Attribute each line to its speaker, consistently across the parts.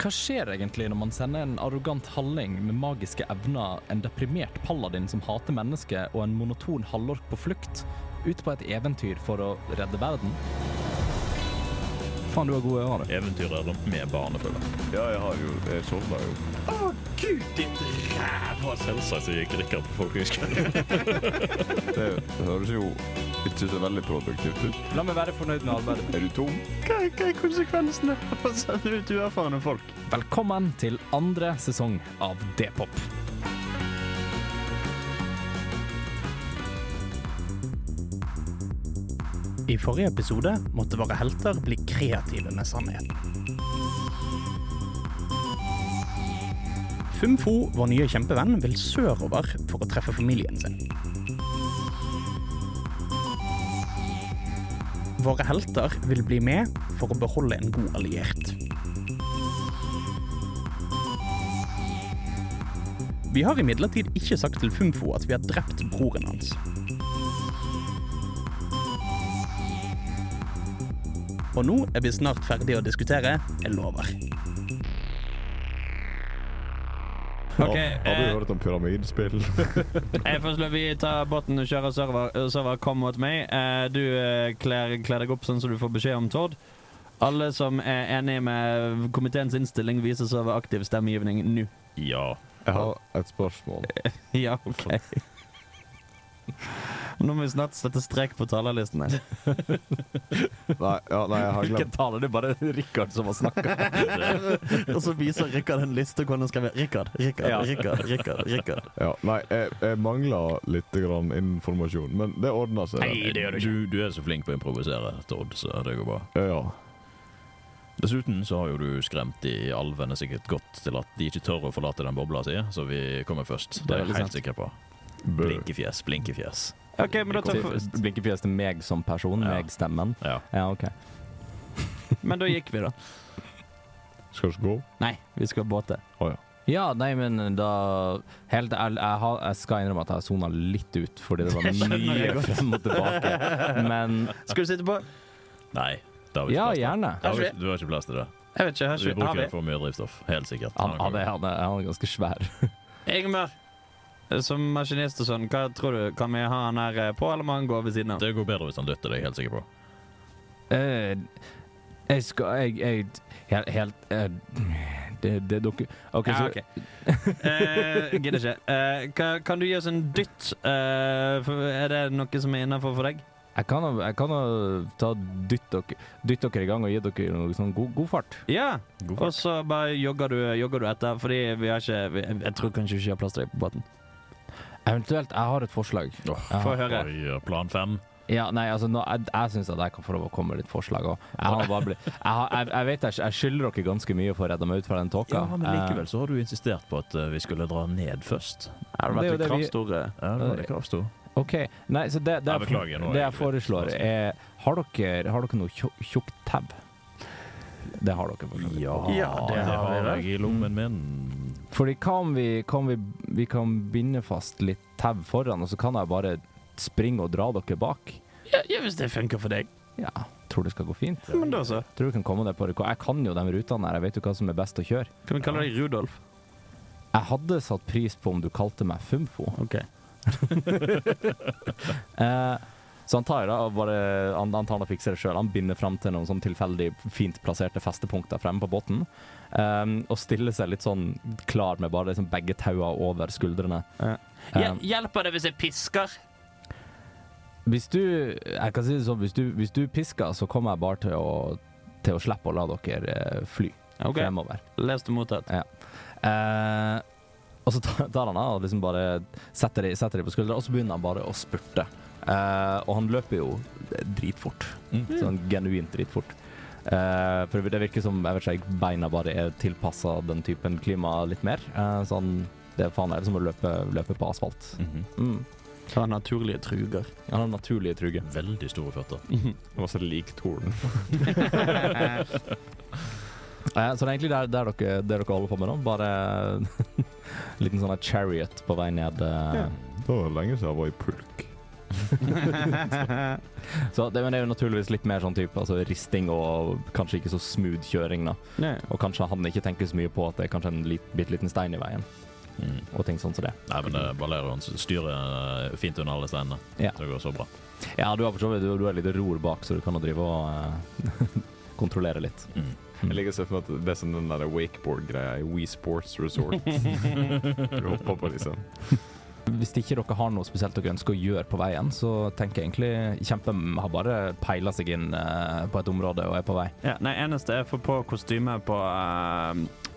Speaker 1: Hva skjer egentlig når man sender en arrogant halling med magiske evner, en deprimert paladin som hater mennesker, og en monoton halvork på flukt ut på et eventyr for å redde verden?
Speaker 2: Faen, du har gode ører, du.
Speaker 3: Eventyret med barnefølge.
Speaker 2: Ja, jeg har jo Jeg sovna jo.
Speaker 3: Gud, ditt ræva! Selvsagt så gikk Rikard på folkehøyskole.
Speaker 2: Det høres jo ikke så veldig produktivt ut.
Speaker 1: La meg være fornøyd med arbeidet.
Speaker 2: Er du tom?
Speaker 4: Hva, er- hva er konsekvensene av å sende ut uerfarne folk?
Speaker 1: Velkommen til andre sesong av D-pop.
Speaker 4: I forrige episode måtte våre helter bli kreative med sannheten. Fumfo, vår nye kjempevenn, vil sørover for å treffe familien sin. Våre helter vil bli med for å beholde en god alliert. Vi har imidlertid ikke sagt til Fumfo at vi har drept broren hans. Og nå er vi snart ferdig å diskutere. Jeg lover.
Speaker 5: Ok,
Speaker 2: Har du
Speaker 5: eh,
Speaker 2: hørt om pyramidspill?
Speaker 5: jeg foreslår vi tar båten og kjører server. eh, Server, kom mot meg. Eh, Du eh, kler, kler deg opp sånn som du får beskjed om, Tord. Alle som er enig med komiteens innstilling, viser seg ved aktiv stemmegivning nå.
Speaker 3: Ja.
Speaker 2: Jeg har et spørsmål.
Speaker 5: Ja, ok. Nå må vi snart sette strek på talerlistene.
Speaker 2: Nei, ja, nei jeg har glemt
Speaker 5: taler det er bare Rikard som har snakka? og så viser Rikard en liste hvor han skriver Rikard, Rikard,
Speaker 1: Ja.
Speaker 5: Rikard, Rikard. Rikard.
Speaker 2: ja, Nei, jeg, jeg mangler litt grann informasjon, men det ordner seg.
Speaker 4: Nei, det gjør du ikke.
Speaker 3: Du, du er så flink på å improvisere, Tord, så det går bra.
Speaker 2: Ja.
Speaker 3: Dessuten så har jo du skremt de alvene sikkert godt til at de ikke tør å forlate den bobla si, så vi kommer først. Det er jeg
Speaker 1: veldig
Speaker 3: helt sikker på.
Speaker 2: Bø.
Speaker 3: Blinkefjes, blinkefjes.
Speaker 5: OK, men da tar vi
Speaker 1: Blinkefjes til meg som person,
Speaker 3: Ja.
Speaker 1: meg stemmen.
Speaker 3: Ja.
Speaker 1: Ja, ok.
Speaker 5: Men da gikk vi, da.
Speaker 2: Skal vi gå?
Speaker 5: Nei, vi skal båte.
Speaker 1: Ja, nei, men da Helt ærlig, jeg, har, jeg skal innrømme at jeg har sona litt ut, fordi det var
Speaker 5: skjønner jeg
Speaker 1: mye frem og tilbake. Men
Speaker 5: Skal du sitte på?
Speaker 3: Nei, det har vi ikke
Speaker 1: ja,
Speaker 3: plass til.
Speaker 1: gjerne.
Speaker 3: Det har vi ikke- Du har ikke plass til det.
Speaker 5: Jeg vet ikke. Her
Speaker 3: Vi
Speaker 5: skal- har
Speaker 3: bruker
Speaker 5: vi.
Speaker 3: for mye drivstoff. Helt sikkert.
Speaker 1: Han, han, er, han, er, han er ganske svær.
Speaker 5: Ingemar, eh, som maskinist og sånn, hva tror du? Kan vi ha han her eh, på, eller må han gå ved siden av?
Speaker 3: Det går bedre hvis han dytter deg, helt sikker på.
Speaker 1: Eh, jeg skal Jeg, jeg Helt, helt eh, Det, det dere OK,
Speaker 5: Ja,
Speaker 1: så
Speaker 5: ok. Eh, Gidder ikke. Eh, ka- kan du gi oss en dytt? Eh, for, er det noe som er innafor for deg?
Speaker 1: jeg kan jo- jeg kan jo ta dytte dere, dytte dere i gang og gi dere noe sånn god, god fart.
Speaker 5: Ja.
Speaker 3: God
Speaker 5: Og så bare jogger du, eh, jogger du etter, fordi vi har ikke vi, Jeg tror kanskje vi ikke har plass til deg på båten.
Speaker 1: Eventuelt, jeg har et forslag.
Speaker 3: Åh,
Speaker 1: Jeg har-
Speaker 5: Få høre.
Speaker 3: Oi, ja, plan fem.
Speaker 1: Ja, nei, altså nå, Jeg, jeg syns at jeg kan få lov å komme med litt forslag òg. Jeg, har bare blitt- jeg, har- jeg, jeg vet jeg, jeg skylder dere ganske mye for å redde meg ut fra den tåka.
Speaker 3: Ja, men
Speaker 1: Eh,
Speaker 3: likevel så har du insistert på at eh, vi skulle dra ned først.
Speaker 5: Har du
Speaker 1: Det er jo
Speaker 5: vært litt
Speaker 1: det vi-
Speaker 5: kravstor? eh?
Speaker 3: Ja, det var det kravstor.
Speaker 1: OK. Nei, så det, det,
Speaker 3: Jeg
Speaker 1: jeg-
Speaker 3: beklager, nå er
Speaker 1: det
Speaker 3: jeg
Speaker 1: jeg foreslår,
Speaker 3: litt-
Speaker 1: er Har dere, har dere noe tjukk tjukk tau? Det har dere. for så vidt.
Speaker 5: Ja, det
Speaker 3: det
Speaker 5: har vi
Speaker 3: har
Speaker 5: vel.
Speaker 3: jeg i lommen min.
Speaker 1: Fordi hva om vi, hva om vi, vi kan binde fast litt tau foran, og så kan jeg bare springe og dra dere bak?
Speaker 5: Ja, ja, hvis det funker for deg.
Speaker 1: Ja, tror det skal gå fint.
Speaker 5: Men da så.
Speaker 1: Tror du kan komme deg på rekord. Jeg kan jo de rutene her, jeg vet jo hva som er best å kjøre.
Speaker 5: Kan vi kalle deg Rudolf?
Speaker 1: Jeg hadde satt pris på om du kalte meg Fumfo.
Speaker 5: Ok.
Speaker 1: Eh, så han tar jo da og bare han, han tar og fikser det sjøl. Han binder fram til noen sånn tilfeldig fint plasserte festepunkter fremme på båten. ehm, og stiller seg litt sånn klar med bare liksom begge taua over skuldrene.
Speaker 5: Ja.
Speaker 1: Ehm,
Speaker 5: Hjelper det hvis jeg pisker?
Speaker 1: hvis du Jeg kan si det sånn, hvis du, hvis du pisker, så kommer jeg bare til å, til å slippe å la dere eh, fly
Speaker 5: OK.
Speaker 1: fremover.
Speaker 5: Les det mottatt.
Speaker 1: Eh, og så tar tar han av og liksom bare setter de, setter de på skuldra, og så begynner han bare å spurte. Eh, og han løper jo dritfort.
Speaker 3: Mm.
Speaker 1: Sånn genuint dritfort. Eh, for det virker som jeg vet ikke, beina bare er tilpassa den typen klima litt mer. Eh, sånn, det er faen er det som å løpe, løpe på asfalt.
Speaker 3: Mhm.
Speaker 1: Mm.
Speaker 5: Ta naturlige truger.
Speaker 1: Han har naturlige truger.
Speaker 3: Veldig store føtter.
Speaker 2: Masse liktorn.
Speaker 1: Eh, så det er egentlig der, der, dere, der dere holder på med nå. Bare en liten sånn her chariot på vei ned. eh.
Speaker 2: Det var lenge siden jeg var i pulk.
Speaker 1: Så det, men det er jo naturligvis litt mer sånn type altså risting og kanskje ikke så smooth kjøring. da.
Speaker 5: Nei.
Speaker 1: Og kanskje han ikke tenker så mye på at det er kanskje en lit, bitte liten stein i veien.
Speaker 3: Mm.
Speaker 1: og ting sånn som det.
Speaker 3: Nei, men eh, Valero han styrer eh, fint under alle steinene.
Speaker 1: Ja.
Speaker 3: Det går så bra.
Speaker 1: Ja, du har for så vidt du, du har litt ror bak, så du kan jo drive og eh, kontrollere litt.
Speaker 3: Mm.
Speaker 2: Jeg liker å se for meg at det er som den der wakeboard-greia i We Sports Resort. Du hopper på liksom.
Speaker 1: Hvis ikke dere har noe spesielt dere ønsker å gjøre på veien, så tenker jeg egentlig Kjempen har bare peila seg inn eh, på et område og er på vei.
Speaker 5: Ja, nei, eneste er å få på kostyme på eh,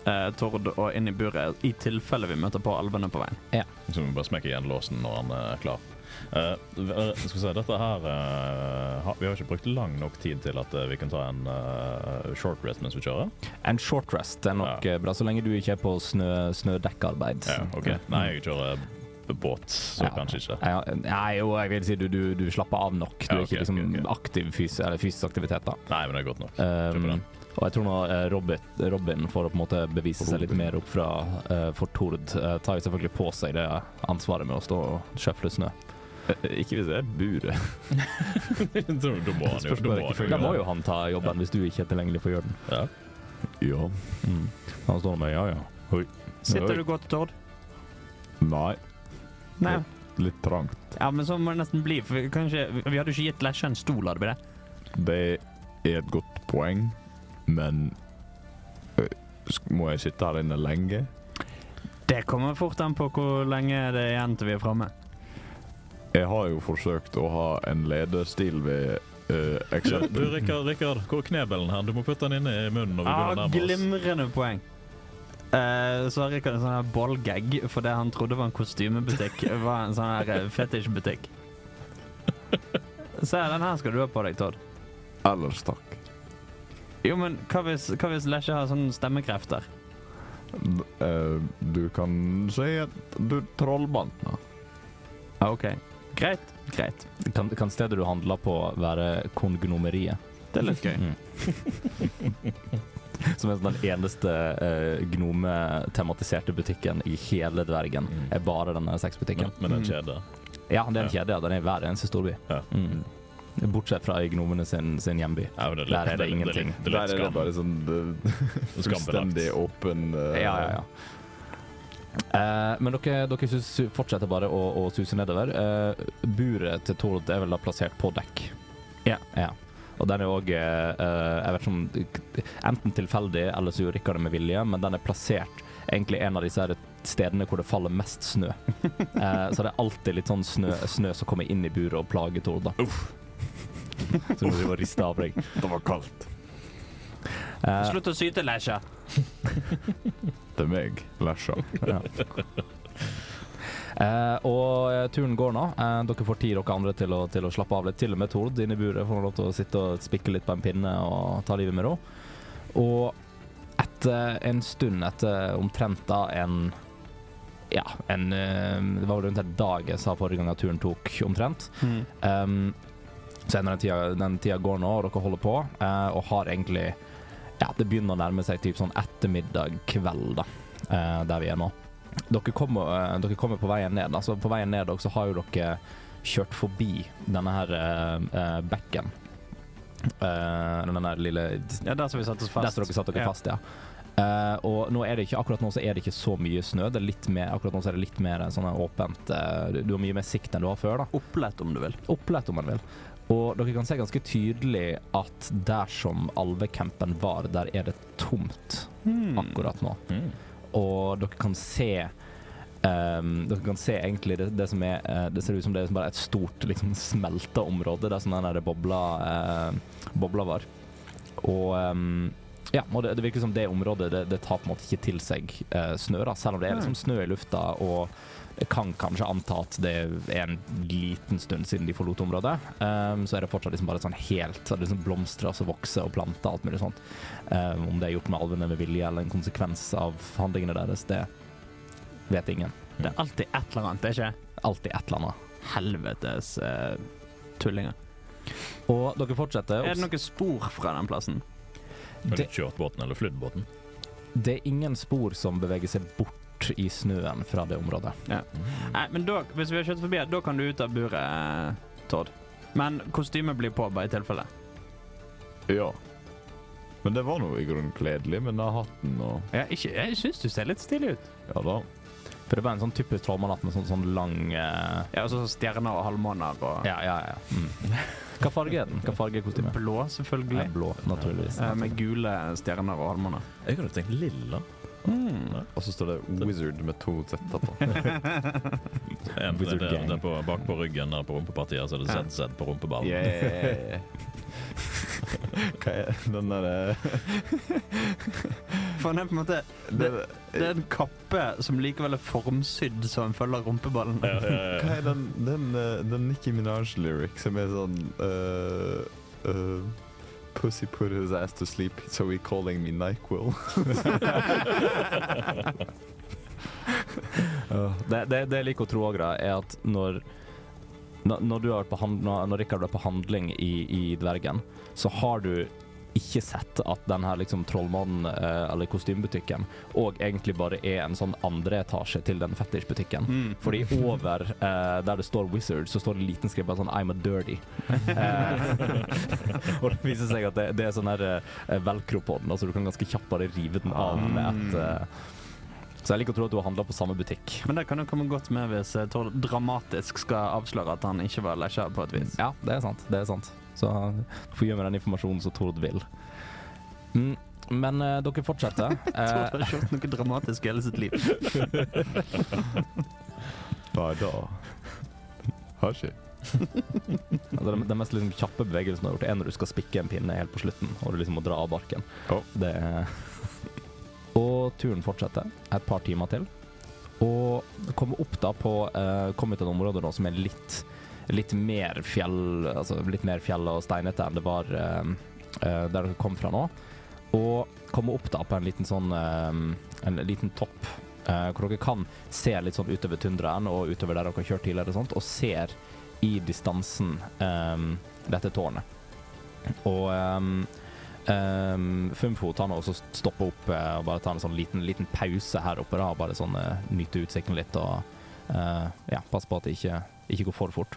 Speaker 5: eh, Tord og inn i buret, i tilfelle vi møter på alvene på veien.
Speaker 3: Så vi bare smekker igjen låsen når han er klar. Eh, eh, skal vi se, dette her eh, har- Vi har ikke brukt lang nok tid til at eh, vi kan ta en eh, short rest mens vi kjører.
Speaker 1: En short rest er nok eh, bra, så lenge du ikke er på snø, snødekkarbeid.
Speaker 3: Ja, ok. Nei, jeg kjører b- båt,
Speaker 1: Ja.
Speaker 3: så kanskje ikke.
Speaker 1: Ja, nei, jo, jeg vil si du, du, du slapper av nok. Du
Speaker 3: Ja,
Speaker 1: er ikke
Speaker 3: ok,
Speaker 1: liksom
Speaker 3: ok, ok.
Speaker 1: aktiv fys eller fysisk aktivitet, da.
Speaker 3: Nei, men det er godt nok. Kjøper
Speaker 1: Um,
Speaker 3: den.
Speaker 1: og jeg tror nå eh, Robert, Robin, for å på en måte bevise seg litt
Speaker 2: Robin.
Speaker 1: mer opp fra eh, for Tord, eh, tar jo selvfølgelig på seg det ansvaret med å stå og sjøfle snø.
Speaker 2: Eh, Ikke hvis det er buret.
Speaker 3: da da må han jo
Speaker 1: Da
Speaker 3: da må han jo
Speaker 1: må
Speaker 3: gjøre
Speaker 1: jo han ta jobben hvis du ikke er tilgjengelig for å gjøre den.
Speaker 3: det. Ja.
Speaker 2: Ja.
Speaker 3: Mm.
Speaker 1: Han står med ja, ja.
Speaker 5: Sitter
Speaker 2: Oi.
Speaker 5: du godt, Tord?
Speaker 2: Nei.
Speaker 5: Nei.
Speaker 2: Litt trangt.
Speaker 5: Ja, men sånn må det nesten bli. For vi, kan ikke- vi hadde jo ikke gitt Lesja en stol, hadde vi det?
Speaker 2: Det er et godt poeng, men ø, sk- Må jeg sitte her inne lenge?
Speaker 5: Det kommer fort an på hvor lenge det er igjen til vi er framme.
Speaker 2: Jeg har jo forsøkt å ha en lederstil ved ø,
Speaker 3: Du, du,
Speaker 2: eksempel.
Speaker 3: Rikard, Rikard, hvor er knebelen her? Du må putte den inn i munnen når vi
Speaker 5: Ja,
Speaker 3: begynner å nærme oss.
Speaker 5: glimrende poeng. Eh, så har Rikard en sånn her ballgag for det han trodde var en kostymebutikk, var en sånn her eh, fetisjbutikk. Se, den her skal du ha på deg, Todd.
Speaker 2: Ellers takk.
Speaker 5: Jo, men hva hvis, hva hvis Lesje har sånne stemmekrefter?
Speaker 2: D- ø, du kan si at du trollbandt meg.
Speaker 5: Ja, OK. Greit. Greit.
Speaker 1: Kan, kan stedet du handler på være kongnomeriet?
Speaker 5: Det er litt gøy.
Speaker 1: Mm. Som er sånn den eneste eh, gnome-tematiserte butikken i hele Dvergen.
Speaker 3: Mm.
Speaker 1: Er bare denne sexbutikken.
Speaker 3: Men, men den kjede.
Speaker 1: Ja, det er en kjede. ja. Den er i hver eneste storby.
Speaker 3: Ja.
Speaker 1: Mm. Bortsett fra i gnomene sin, sin hjemby.
Speaker 3: Ja, men det
Speaker 1: Der er det
Speaker 3: litt-
Speaker 1: ingenting.
Speaker 3: litt- Det
Speaker 2: Der
Speaker 3: er
Speaker 2: er
Speaker 3: litt
Speaker 2: det
Speaker 3: skam.
Speaker 2: bare sånn ø,
Speaker 3: skambelagt.
Speaker 2: fullstendig åpen ø,
Speaker 1: Eh, men dere, dere sus, fortsetter bare å, å suse nedover. Eh, buret til Tord er vel da plassert på dekk.
Speaker 5: Ja.
Speaker 1: Og den er òg Jeg vet ikke om Enten tilfeldig, eller så gjør Rikard det med vilje, men den er plassert egentlig en av disse her stedene hvor det faller mest snø. Eh, så det er alltid litt sånn snø, snø som kommer inn i buret og plager Tord, da. Så du må drive og riste av deg.
Speaker 2: Det var kaldt.
Speaker 1: Eh,
Speaker 5: Slutt å syte, Lesje.
Speaker 2: Det er meg, Lesja.
Speaker 1: Ja. Eh, og eh, turen går nå. Eh, dere får tid dere andre til å, til å slappe av litt. Til og med Tord inne i buret får lov til å sitte og spikke litt på en pinne og ta livet med ro. Og etter en stund, etter omtrent da en Ja, en eh, Det var vel rundt en dag jeg sa forrige gang at turen tok, omtrent.
Speaker 5: Hmm.
Speaker 1: Um, så er det den tida, den tida går nå, og dere holder på, eh, og har egentlig Ja, det begynner å nærme seg typ sånn ettermiddag, kveld, da, eh, der vi er nå. Dere kommer, eh, dere kommer på veien ned. Altså, på veien ned også har jo dere kjørt forbi denne her eh, eh, bekken. Eh, denne her lille
Speaker 5: Ja, der som vi satte oss
Speaker 1: der
Speaker 5: fast.
Speaker 1: står dere satt dere
Speaker 5: Ja.
Speaker 1: fast, ja. Eh, og nå er det ikke, akkurat nå så er det ikke så mye snø. Det er litt mer, akkurat nå så er det litt mer sånn åpent eh, Du du har mye mer sikt enn du har før. da
Speaker 5: Opplett, om du vil.
Speaker 1: opplett, om man vil. Og dere kan se ganske tydelig at der som alvecampen var, der er det tomt
Speaker 5: Hmm.
Speaker 1: akkurat nå.
Speaker 3: Mm.
Speaker 1: Og dere kan se ehm, Dere kan se egentlig det, det som er eh, Det ser ut som det er bare et stort liksom, smelta område der som den der bobla, eh, bobla var. Og ehm, ja, og det, det virker som det området det, det tar på en måte ikke til seg eh, snø, da, selv om det er liksom snø i lufta. Og jeg kan kanskje anta at det er en liten stund siden de forlot området. ehm, så er det fortsatt liksom bare sånn helt så er det liksom blomstrer som vokser og planter og alt mulig sånt. Ehm, om det er gjort med alvene med vilje eller en konsekvens av handlingene deres, det vet ingen.
Speaker 5: Det er alltid et eller annet, det er ikke
Speaker 1: Alltid et eller annet.
Speaker 5: helvetes eh, tullinger.
Speaker 1: Og dere fortsetter.
Speaker 5: Er det noen spor fra den plassen?
Speaker 3: Har du
Speaker 1: det,
Speaker 3: kjørt båten eller flydd båten?
Speaker 1: det er ingen spor som beveger seg bort i snøen fra det området.
Speaker 5: Nei, men da, hvis vi har kjørt forbi, her, da kan du ut av buret. eh, Todd. Men kostymet blir på, bare i tilfelle.
Speaker 2: Ja. Men det var nå i grunnen kledelig med den der hatten og
Speaker 5: Ja, ikke, jeg syns du ser litt stilig ut.
Speaker 2: Ja da.
Speaker 1: For det var en sånn typisk trollmannatt med sånn, sånn lang eh,
Speaker 5: Ja, og så Stjerner og halvmåner og
Speaker 1: Ja, ja, ja. Mm. Hva farge er den? Hva farge er kostymet?
Speaker 5: blå,
Speaker 1: Ja,
Speaker 5: selvfølgelig.
Speaker 1: blå, naturligvis.
Speaker 5: Eh, med gule stjerner og halvmåner.
Speaker 3: Jeg kunne tenkt lilla.
Speaker 5: Mm.
Speaker 2: Og så står det Wizard med to z-er på.
Speaker 3: En, det,
Speaker 1: Wizard
Speaker 3: det,
Speaker 1: gang.
Speaker 3: det er på, bak på ryggen der på rumpepartiet så er det
Speaker 5: Ja.
Speaker 3: ZZ på rumpeballen.
Speaker 2: Yeah. Hva er den eh? derre
Speaker 5: For det er på en måte
Speaker 2: den-
Speaker 5: Det er en kappe som likevel er formsydd så den følger rumpeballen.
Speaker 3: Ja, ja, ja,
Speaker 2: Hva er den, den, eh, den Nicki Minaj-lyric som er sånn eh, eh, Pussy put his ass to sleep, so he calling me NyQuil.
Speaker 1: Ja, Det, det, det jeg liker å tro òg, er at når når, når du har vært på hand, når, når Rikard er på handling i, i Dvergen, så har du ikke sett at den her liksom trollmannen eh, eller kostymebutikken og egentlig bare er en sånn andre etasje til den fetisjbutikken.
Speaker 5: Mm.
Speaker 1: Fordi over eh, der det står 'Wizard', så står det liten skrift bare sånn 'I'm a dirty'. Eh, og det viser seg at det, det er sånn her eh, velcro på den, altså du kan ganske kjapt bare rive den av med et eh, Så jeg liker å tro at du har handla på samme butikk.
Speaker 5: Men det kan jo komme godt med hvis eh, Tord dramatisk skal avsløre at han ikke var lesja på et vis.
Speaker 1: Ja, det er sant. Det er sant. Så du får gi meg den informasjonen som Tord vil. Mm, men eh, dere fortsetter.
Speaker 5: Tord
Speaker 1: Eh,
Speaker 5: har ikke gjort noe dramatisk i hele sitt liv.
Speaker 2: Nei, da Har ikke.
Speaker 1: altså, den, den mest liksom, kjappe bevegelsen du har gjort, er når du skal spikke en pinne helt på slutten, og du liksom må dra av barken.
Speaker 2: Ja.
Speaker 1: Det er Og turen fortsetter et par timer til. Og kommer opp da på eh, Kommer til et område nå som er litt Litt mer fjell Altså litt mer fjell og steinete enn det var eh, eh, der dere kom fra nå. Og kommer opp da på en liten sånn eh, En liten topp eh, hvor dere kan se litt sånn utover tundraen og utover der dere har kjørt tidligere og sånt, og ser i distansen eh, dette tårnet. Og eh, Um, Fumfo tar nå også stopper opp eh, og bare tar en sånn liten, liten pause her oppe. da, og Bare sånn eh, nyte utsikten litt og eh, ja, passe på at det ikke, ikke går for fort.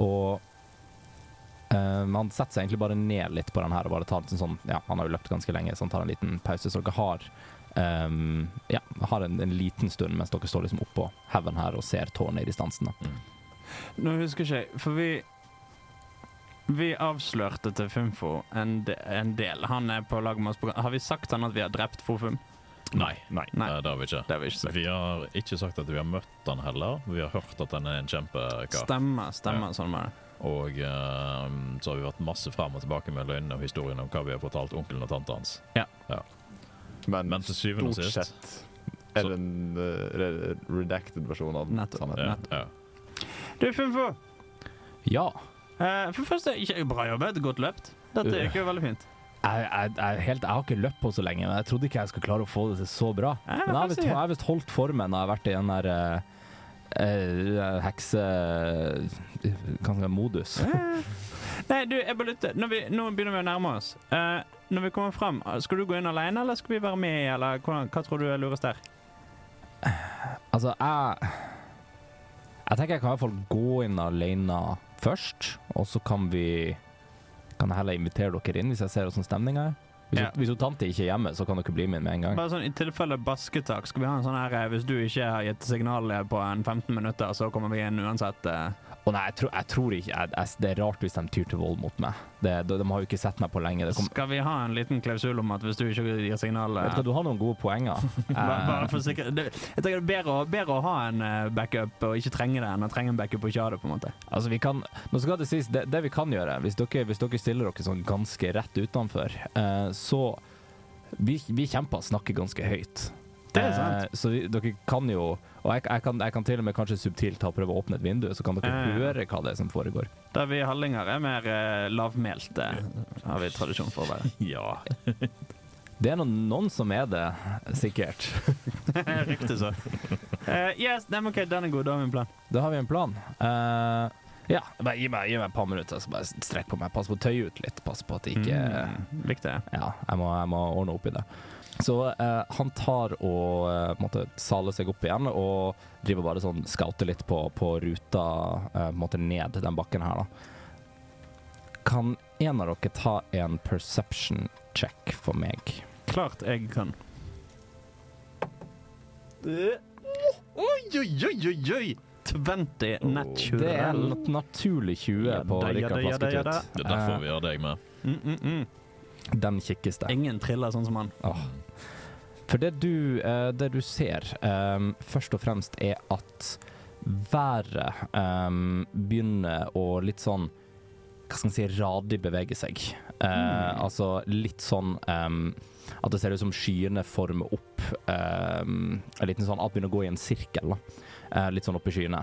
Speaker 1: Og eh, han setter seg egentlig bare ned litt på den her og bare tar en sånn Ja, han har jo løpt ganske lenge, så han tar en liten pause. Så dere har ehm, ja, har en, en liten stund mens dere står liksom oppå haugen her og ser tårnet i distansen. da.
Speaker 5: Nå husker ikke jeg, for vi Vi avslørte til Fumfo en, de, en del. Han er på lag med oss på Har vi sagt han at vi har drept Fofum?
Speaker 3: Nei, nei,
Speaker 5: Nei.
Speaker 3: eh, det har vi ikke.
Speaker 5: Det har vi ikke sagt.
Speaker 3: Vi har ikke sagt at vi har møtt han heller. Vi har hørt at han er en kjempekar.
Speaker 5: Stemmer, stemmer. Sånn var det.
Speaker 3: Og eh, så har vi vært masse frem og tilbake med løgnene og historien om hva vi har fortalt onkelen og tanta hans.
Speaker 2: Men,
Speaker 3: Men til syvende og
Speaker 2: stort
Speaker 3: sist
Speaker 2: sett er det en eh, re redacted versjon av
Speaker 5: Nettopp.
Speaker 2: sannheten.
Speaker 3: ja,
Speaker 5: Nettopp.
Speaker 3: ja.
Speaker 5: Du, Fumfo.
Speaker 1: Ja.
Speaker 5: eh, for det første, ikke- bra jobbet. Godt løpt. Dette gikk jo veldig fint.
Speaker 1: Jeg, jeg, jeg, helt, jeg har ikke løpt på så lenge, men jeg trodde ikke jeg skulle klare å få det til så bra.
Speaker 5: Ja,
Speaker 1: Men jeg har
Speaker 5: hva
Speaker 1: visst-
Speaker 5: sier?
Speaker 1: jeg har visst holdt formen når jeg har vært i den der eh, eh, hekse... eh, Hva skal jeg si, modus.
Speaker 5: Nei, du, jeg bare lytter. Når vi, nå begynner vi å nærme oss. Eh, når vi kommer frem, eh, skal du gå inn alene, eller skal vi være med, eller hvordan, hva tror du er lurest der?
Speaker 1: Altså, jeg Jeg tenker jeg kan i hvert fall gå inn alene først, og så kan vi Kan jeg heller invitere dere inn hvis jeg ser hvordan stemninga er. Hvis,
Speaker 5: Ja.
Speaker 1: hvis hun tante ikke er hjemme, så kan dere bli med med en gang.
Speaker 5: Bare sånn, I tilfelle basketak, skal vi ha en sånn her eh, Hvis du ikke har gitt signal eh, på en 15 minutter, så kommer vi inn uansett. eh.
Speaker 1: Og nei, jeg, tror- jeg tror ikke jeg, jeg, Det er rart hvis de tyr til vold mot meg. Det, de, de har jo ikke sett meg på lenge. Det kom,
Speaker 5: Skal vi ha en liten klausul om at hvis du ikke gir signal eh,
Speaker 1: Vet du hva, du har noen gode poenger.
Speaker 5: ba-
Speaker 1: Eh,
Speaker 5: bare for sikkerhet det- Jeg tenker det er bedre, å- bedre å ha en eh, backup og ikke trenge det, enn å trenge en backup og ikke ha det. på en måte
Speaker 1: Altså, vi kan, nå skal det sies, det, det vi kan gjøre, hvis dere, hvis dere stiller dere sånn ganske rett utenfor, eh, så vi, vi kjemper og snakker ganske høyt.
Speaker 5: Det er sant.
Speaker 1: Eh, så vi, dere kan jo Og jeg, jeg, kan, jeg kan til og med kanskje subtilt ta og prøve å åpne et vindu, så kan dere
Speaker 5: Ja, ja,
Speaker 1: høre hva det er som foregår.
Speaker 5: Da vi hallinger er mer eh, lavmælte, har vi tradisjon for å være.
Speaker 3: ja.
Speaker 1: Det er noen, noen som er det, sikkert.
Speaker 5: Riktig så. Eh, yes, nei, men ok, Den er god. Da har vi en plan.
Speaker 1: Da har vi en plan. Eh, Ja, bare gi meg, gi meg et par minutter, så bare strekk på meg. Pass på å tøye ut litt. Pass på at jeg ikke
Speaker 5: Mm, Viktig.
Speaker 1: Ja, jeg må, jeg må ordne opp i det. Så eh, han tar og eh, på en måte saler seg opp igjen og driver bare sånn scouter litt på, på ruta eh, på en måte ned den bakken her, da. Kan en av dere ta en perception check for meg?
Speaker 5: Klart jeg kan. Eh,
Speaker 3: Oi, oi, oi, oi, oi!
Speaker 5: 20
Speaker 1: Oh,
Speaker 5: nett 20.
Speaker 1: Det er en naturlig 20
Speaker 5: Ja
Speaker 1: på
Speaker 5: da, ja
Speaker 1: Rikard
Speaker 5: da, ja da, ja da.
Speaker 1: Flasketut.
Speaker 3: Det er derfor vi har deg med.
Speaker 5: Mm, mm, mm.
Speaker 1: Eh, Den kikkes der.
Speaker 5: Ingen triller sånn som han.
Speaker 1: Åh. For det du, eh, det du ser, ehm, først og fremst er at været ehm, begynner å litt sånn Hva skal man si radig bevege seg. Eh, Altså litt sånn ehm, at det ser ut som skyene former opp ehm, en liten sånn At det begynner å gå i en sirkel. Da. Eh, litt sånn oppi skyene.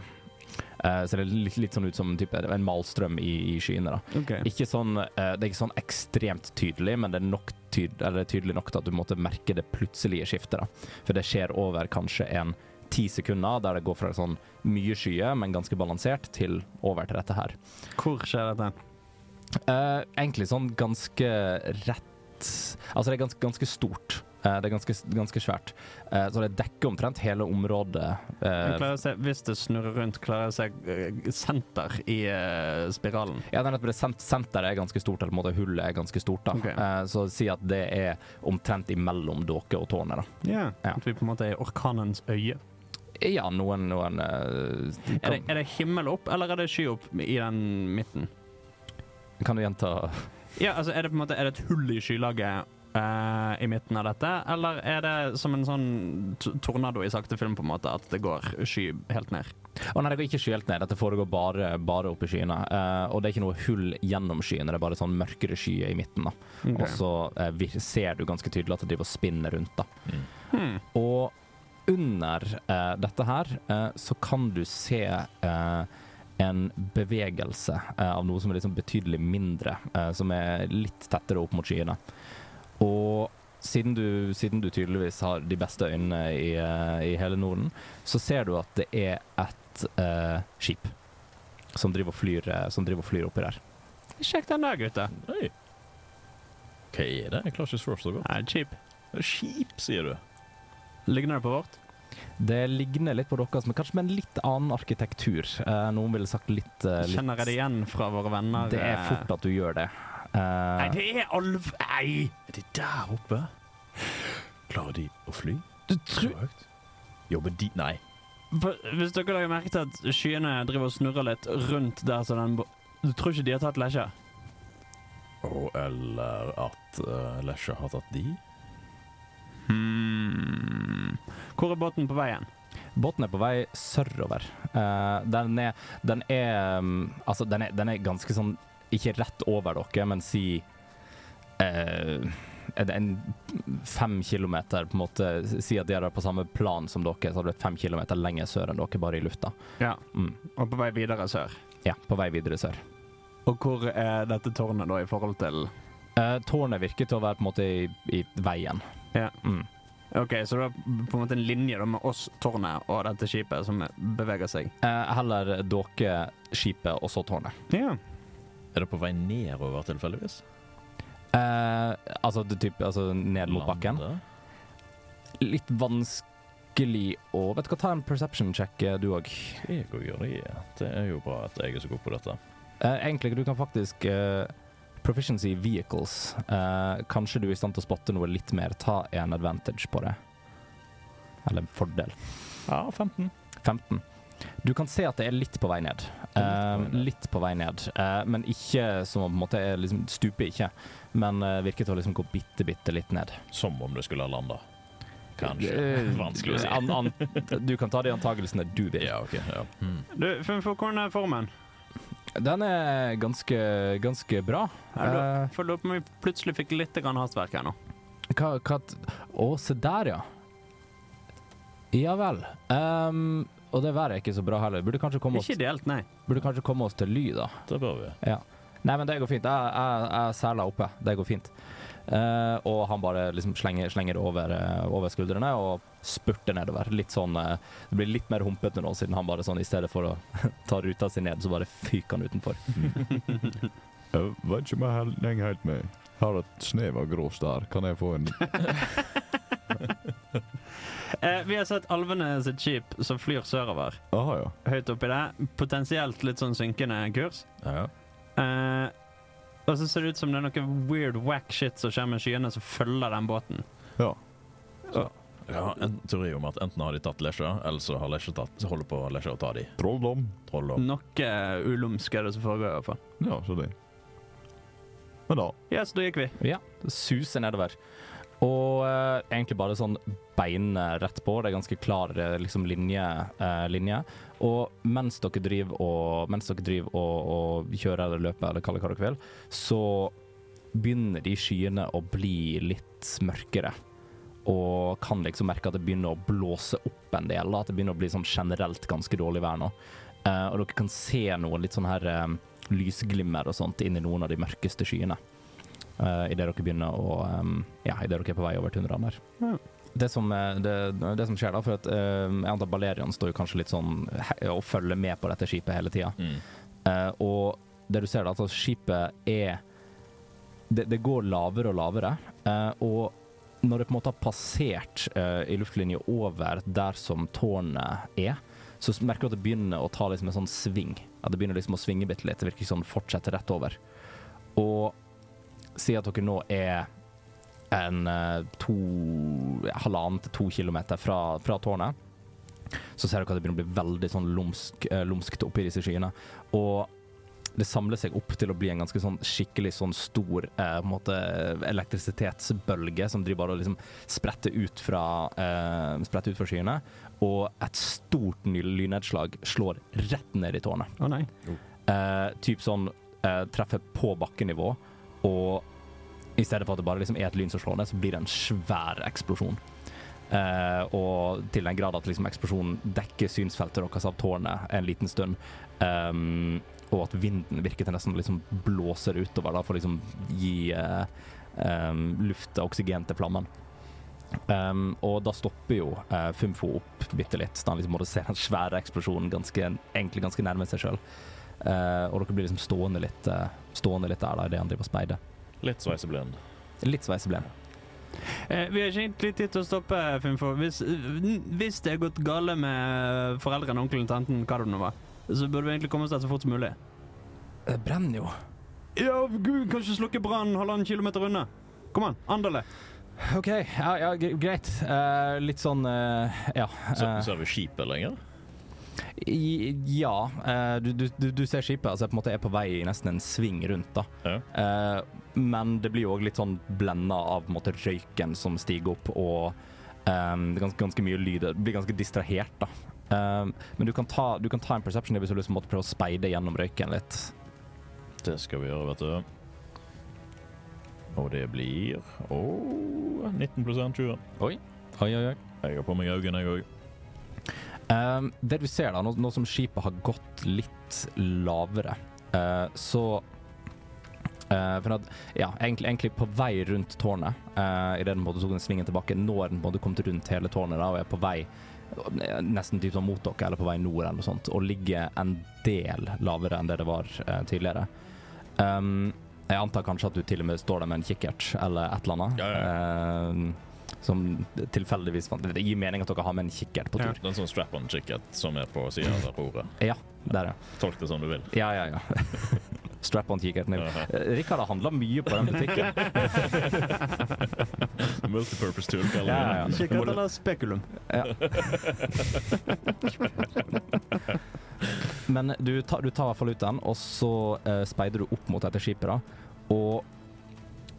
Speaker 1: Eh, ser det litt, litt sånn ut som type, en malstrøm i, i skyene. da. Ikke sånn, eh, det er ikke sånn ekstremt tydelig, men det er nok tyd eller tydelig nok til at du måtte merke det plutselige skiftet. Da. For det skjer over kanskje en ti sekunder, der det går fra sånn mye skyer, men ganske balansert, til over til dette her.
Speaker 5: Hvor skjer dette?
Speaker 1: Eh, egentlig sånn ganske rett Altså, det er ganske, ganske stort. Eh, det er ganske, ganske svært. Eh, så det dekker omtrent hele området.
Speaker 5: Jeg
Speaker 1: eh,
Speaker 5: klarer å se, hvis det snurrer rundt, klarer jeg å se eh, senter i eh, spiralen.
Speaker 1: Ja, det er nettopp det sent senteret er ganske stort, eller på en måte hullet er ganske stort. da.
Speaker 5: Ok.
Speaker 1: Eh, så si at det er omtrent imellom dere og tårnet. da.
Speaker 5: Ja.
Speaker 1: Ja.
Speaker 5: At vi på en måte er i orkanens øye.
Speaker 1: Ja, noen, noen eh,
Speaker 5: Er det,
Speaker 1: kan,
Speaker 5: er det himmel opp, eller er det sky opp i den midten?
Speaker 1: kan du gjenta
Speaker 5: Ja, altså Er det på en måte er det et hull i skylaget eh, i midten av dette, eller er det som en sånn t tornado i sakte film, på en måte, at det går sky helt ned?
Speaker 1: Å nei, det går ikke skyelt ned. Dette foregår bare, bare oppe i skyene. Eh, og det er ikke noe hull gjennom skyene, det er bare sånn mørkere skyer i midten. da. Og så eh, vir- ser du ganske tydelig at det driver og spinner rundt. da.
Speaker 5: Hmm.
Speaker 1: Og under eh, dette her eh, så kan du se eh, en bevegelse eh, av noe som er liksom betydelig mindre, eh, som er litt tettere opp mot skyene. Og siden du, siden du tydeligvis har de beste øynene i, eh, i hele Norden, så ser du at det er et eh, skip som driver og flyr, eh, som driver og flyr oppi der.
Speaker 5: Sjekk den der, gutter.
Speaker 3: Oi. Hva er det? Jeg klarer ikke å slå så godt.
Speaker 5: Nei, cheap.
Speaker 3: Det er Skip, sier du.
Speaker 5: Ligner det på vårt?
Speaker 1: Det ligner litt på deres, men kanskje med en litt annen arkitektur. Eh, noen ville sagt litt, eh, litt
Speaker 5: Kjenner jeg det igjen fra våre venner?
Speaker 1: Det er
Speaker 5: eh,
Speaker 1: fort at du gjør det.
Speaker 5: Nei,
Speaker 1: Eh,
Speaker 5: det er alv... Nei!
Speaker 3: Er de der oppe? Klarer de å fly? Du tror høyt? Jobber de Nei.
Speaker 5: For Hvis dere har merket at skyene driver og snurrer litt rundt der så den bo- Du tror ikke de har tatt lesja?
Speaker 3: Og eller at uh, Lesja har tatt de?
Speaker 5: Hmm. Hvor er båten på vei hen?
Speaker 1: Eh, Båten er på vei sørrover. Eh, den er, den er mm, Altså, den er, den er ganske sånn Ikke rett over dere, men si eh, er det en fem kilometer på en måte Si at de er på samme plan som dere, så hadde det vært fem kilometer lenger sør enn dere, bare i lufta.
Speaker 5: Ja,
Speaker 1: Mm.
Speaker 5: Og på vei videre sør.
Speaker 1: Ja, på vei videre sør.
Speaker 5: Og hvor er dette tårnet da i forhold til
Speaker 1: Eh, tårnet virker til å være på en måte i, i veien.
Speaker 5: Ja.
Speaker 1: Mm.
Speaker 5: OK, så det er på en måte en linje da med oss, tårnet og dette skipet som beveger seg.
Speaker 1: Eh, heller dere, skipet og så tårnet.
Speaker 5: Ja.
Speaker 3: Er det på vei nedover, tilfeldigvis?
Speaker 1: Eh, altså, det typ, altså ned mot bakken.
Speaker 3: Lande?
Speaker 1: Litt vanskelig å Vet du hva, ta en perception check, eh, du òg.
Speaker 3: Jeg og gjør det. Det er jo bra at jeg er så god på dette.
Speaker 1: Eh, egentlig, du kan faktisk eh, Proficiency vehicles. Eh, kanskje du er i stand til å spotte noe litt mer. Ta en advantage på det. Eller en fordel.
Speaker 3: Ja, 15.
Speaker 1: 15. Du kan se at det er litt på vei ned. Eh, litt på vei ned, eh, men ikke som om på en måte er liksom, Stuper ikke, men eh, virker til å liksom gå bitte, bitte litt ned.
Speaker 3: Som om du skulle ha landa. Kanskje.
Speaker 1: Eh,
Speaker 3: Vanskelig å si.
Speaker 1: An, an, du kan ta de antagelsene du vil.
Speaker 3: Ja, OK. Ja. Mm.
Speaker 5: Du, Funfo, hvordan er formen?
Speaker 1: Den er ganske, ganske bra.
Speaker 5: Jeg lurer-
Speaker 1: Eh,
Speaker 5: for jeg lurer på om vi plutselig fikk litt grann hastverk her nå.
Speaker 1: hva, hva t- Å, se der, ja. Ja vel. Ehm, og det været er ikke så bra heller. Burde kanskje komme oss,
Speaker 5: Ikke ideelt, nei.
Speaker 1: burde kanskje komme oss til ly, da.
Speaker 3: Det bør vi.
Speaker 1: Ja. Nei, men det går fint. Jeg, jeg, jeg seiler oppe. Det går fint. Eh, og han bare liksom slenger, slenger det over, eh, over skuldrene og spurter nedover. Litt sånn, eh, Det blir litt mer humpete nå, siden han bare sånn i stedet for å ta ruta si ned, så bare fyker han utenfor.
Speaker 2: Jeg Eh, vet ikke om jeg hel- henger helt med. Har et snev av grås der. Kan jeg få en
Speaker 5: Eh, vi har sett alvene sitt skip som flyr sørover.
Speaker 2: Aha, ja.
Speaker 5: Høyt oppi det. Potensielt litt sånn synkende kurs.
Speaker 3: Ja.
Speaker 5: Eh, og så ser det ut som det er noe weird whack shit som skjer med skyene, som følger den båten.
Speaker 2: ja.
Speaker 3: Jeg har en teori om at enten har de tatt Lesja, eller så har Lesja tatt, så holder på Lesja å ta de.
Speaker 2: Trolldom.
Speaker 3: Trolldom.
Speaker 5: Noe eh, ulumsk er det som foregår, i hvert fall.
Speaker 2: Ja, så det. Men da
Speaker 5: Ja, så da gikk vi.
Speaker 1: Ja, det suser nedover. Og eh, egentlig bare sånn beinet rett på. Det er ganske klar eh, liksom, linje, eh, linje. Og mens dere driver og, mens dere driver og, og kjører eller løper eller kaller hva dere vil, så begynner de skyene å bli litt mørkere. Og kan liksom merke at det begynner å blåse opp en del. Da. At det begynner å bli sånn generelt ganske dårlig vær nå. Eh, og dere kan se noe litt sånn her eh, lysglimmer og sånt inni noen av de mørkeste skyene uh, idet dere begynner å um, Ja, idet dere er på vei over tundraen der.
Speaker 5: Ja.
Speaker 1: Det, som, eh, det, det som skjer da, for at eh, jeg antar Balerian står jo kanskje litt sånn he- og følger med på dette skipet hele tida.
Speaker 3: Mm.
Speaker 1: Eh, og det du ser da, at altså, skipet er det, det går lavere og lavere. eh, og når det på en måte har passert eh, i luftlinje over der som tårnet er, så s- merker du at det begynner å ta liksom en sånn sving. At det begynner liksom å svinge bitte litt. Det virker som det fortsetter rett over. Og si at dere nå er en eh, to, ja, halvannen til to kilometer fra, fra tårnet, så ser dere at det begynner å bli veldig sånn lumsk, eh, lumskt oppi disse skyene. Og det samler seg opp til å bli en ganske sånn skikkelig sånn stor eh, på en måte elektrisitetsbølge som driver bare og liksom spretter ut fra eh, spretter ut fra skyene. Og et stort ny- lynnedslag slår rett ned i tårnet.
Speaker 5: Å nei.
Speaker 1: Eh, typ sånn eh, treffer på bakkenivå, og i stedet for at det bare liksom er et lyn som slår ned, så blir det en svær eksplosjon. Eh, og til den grad at liksom eksplosjonen dekker synsfeltet deres av tårnet en liten stund. ehm, og at vinden virker til nesten å liksom blåser utover da, for å liksom gi eh, ehm, luft og oksygen til flammen. Ehm, og da stopper jo eh, Fumfo opp bitte litt. så Han liksom måtte se den svære eksplosjonen ganske, egentlig ganske nærme seg sjøl. Eh, og dere blir liksom stående litt, eh, stående litt der da, i det han driver og speider.
Speaker 3: Litt sveiseblind.
Speaker 1: Litt sveiseblem.
Speaker 5: Eh, vi har ikke egentlig tid til å stoppe, Fimfo. Hvis, n- hvis det er gått gale med foreldrene, onkelen, tanten, hva det nå var, så burde vi egentlig komme oss der så fort som mulig.
Speaker 1: Det brenner Eh, jo.
Speaker 5: Ja, gud, kanskje slukke brannen halvannen kilometer unna. Kom an, Andale.
Speaker 1: OK, ja, ja gre- greit. Eh, litt sånn eh, Ja.
Speaker 3: Så,
Speaker 1: eh,
Speaker 3: ser vi skipet lenger?
Speaker 1: i, ja. eh, du, du, du- du ser skipet. Altså, jeg på en måte er på vei i nesten en sving rundt, da.
Speaker 3: Ja.
Speaker 1: Eh, men det blir jo òg litt sånn blenda av på en måte, røyken som stiger opp, og ehm, det er ganske, ganske mye lyd. Du blir ganske distrahert, da. Ehm, men du kan, ta, du kan ta en perception hvis du har lyst til å måtte prøve å speide gjennom røyken litt.
Speaker 3: Det skal vi gjøre, vet du. Og det blir Åh, 19 pluss 1, 20.
Speaker 1: Oi, oi, oi.
Speaker 3: Jeg har på meg øynene, jeg òg.
Speaker 1: Ehm, det du ser da, nå, nå som skipet har gått litt lavere, eh, så eh, for at, ja, egentlig, egentlig på vei rundt tårnet, eh, i det den på en måte tok den svingen tilbake, nå er den på en måte kommet rundt hele tårnet da, og er på vei eh, nesten typ sånn mot dere, eller på vei nord eller noe sånt, og ligger en del lavere enn det det var eh, tidligere. Ehm, jeg antar kanskje at du til og med står der med en kikkert, eller et eller annet,
Speaker 3: Ja,
Speaker 1: Ehm, som tilfeldigvis fant. Det gir mening at dere har med en kikkert på tur.
Speaker 3: Det er en sånn strap-on-kikkert som er på sida av roret.
Speaker 1: Der, ja.
Speaker 3: Tolk det som du vil.
Speaker 1: Ja, ja, ja. Strap on kikkerten. din.
Speaker 3: Ja.
Speaker 1: Eh, Rikard har handla mye på den butikken.
Speaker 3: Multipurpose tool,
Speaker 1: Ja,
Speaker 3: kaller
Speaker 1: ja, ja.
Speaker 3: vi det.
Speaker 5: Kikkert eller spekulum?
Speaker 1: Men du, tar- du tar i hvert fall ut den, og så eh, speider du opp mot dette skipet. da. Og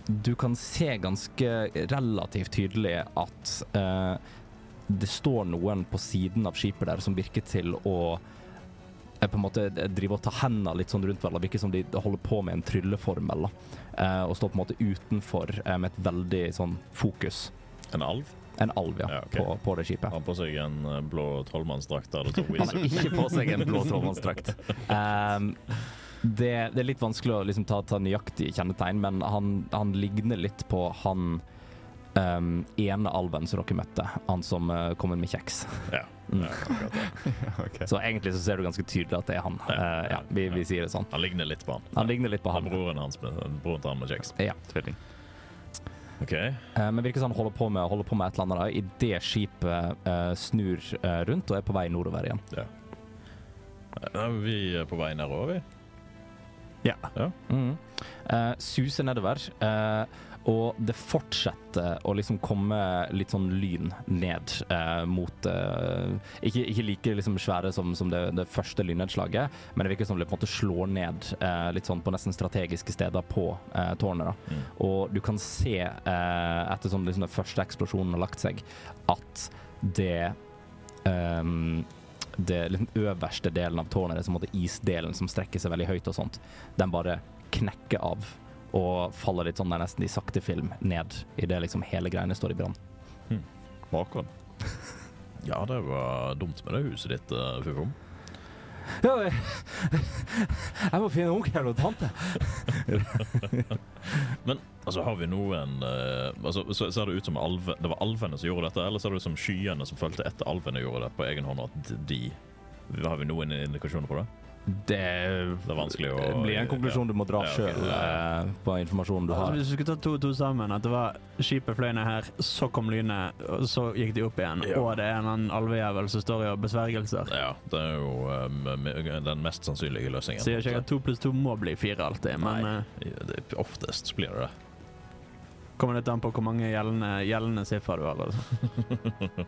Speaker 1: du kan se ganske relativt tydelig at eh, det står noen på siden av skipet der som virker til å eh, på en måte drive og ta hendene litt sånn rundt hverandre. Virker som de holder på med en trylleformel. da. Eh, og står på en måte utenfor eh, med et veldig sånn fokus.
Speaker 3: En alv.
Speaker 1: En alv, ja,
Speaker 3: Ja, ok.
Speaker 1: på, på det skipet.
Speaker 3: Han har på seg en eh, blå trollmannsdrakt der det sto
Speaker 1: Han
Speaker 3: Weezer.
Speaker 1: har ikke på seg en blå trollmannsdrakt. Ehm, Det, det er litt vanskelig å liksom, ta, ta nøyaktige kjennetegn, men han, han ligner litt på han um, ene alven som dere møtte. Han som eh, kom inn med kjeks.
Speaker 3: Ja.
Speaker 1: Mm.
Speaker 3: ja, akkurat det.
Speaker 2: ok.
Speaker 1: Så egentlig så ser du ganske tydelig at det er han.
Speaker 3: Ja,
Speaker 1: Eh, ja, vi, vi sier det sånn.
Speaker 3: Han ligner litt på han.
Speaker 1: Han ligner litt på
Speaker 3: Han
Speaker 1: han.
Speaker 3: broren hans broren til han med kjeks.
Speaker 1: Ja.
Speaker 2: Tvilling.
Speaker 3: OK.
Speaker 1: Eh, Men virker som han holder på med, holder på med et eller annet da, i det skipet eh, snur eh, rundt og er på vei nordover igjen.
Speaker 3: Da er vi på vei nedover, vi.
Speaker 1: Mm. Eh, suser nedover, eh, og det fortsetter å liksom komme litt sånn lyn ned eh, mot eh, ikke, ikke like liksom svære som, som det, det første lynnedslaget, men det virker som det på en måte slår ned eh, litt sånn på nesten strategiske steder på eh, tårnet. da.
Speaker 3: Mm.
Speaker 1: Og du kan se, eh, etter sånn liksom den første eksplosjonen har lagt seg, at det ehm, det den øverste delen av tårnet, det er som på en måte isdelen som strekker seg veldig høyt og sånt, den bare knekker av og faller litt sånn der nesten i sakte film ned idet liksom hele greiene står i brann.
Speaker 2: Makon.
Speaker 3: Ja, det var dumt med det huset ditt, eh, Fufo.
Speaker 1: Jeg må finne onkelen og tante.
Speaker 3: Men altså, har vi noen eh, altså, så, Ser det ut som alve, det var alvene som gjorde dette, eller ser det ut som skyene som fulgte etter alvene, gjorde det på egen hånd? At de Har vi noen indikasjoner på det?
Speaker 1: Det,
Speaker 3: Det er vanskelig å
Speaker 1: blir en konklusjon du må dra
Speaker 3: Ja, ok,
Speaker 1: sjøl
Speaker 3: ja.
Speaker 1: på informasjonen du
Speaker 5: Altså,
Speaker 1: har.
Speaker 5: hvis vi skulle ta to og to sammen, at det var skipet fløy ned her, så kom lynet, og så gikk de opp igjen,
Speaker 3: Ja.
Speaker 5: og det er en annen alvejævel som står og gjør besvergelser.
Speaker 3: Ja, det er jo eh, m- m- den mest sannsynlige løsningen.
Speaker 5: Sier ikke jeg at to pluss to må bli fire alltid, men
Speaker 3: Nei.
Speaker 5: eh,
Speaker 3: Ja, det- Oftest blir det det.
Speaker 5: kommer litt an på hvor mange gjeldende, gjeldende siffer du har. Altså.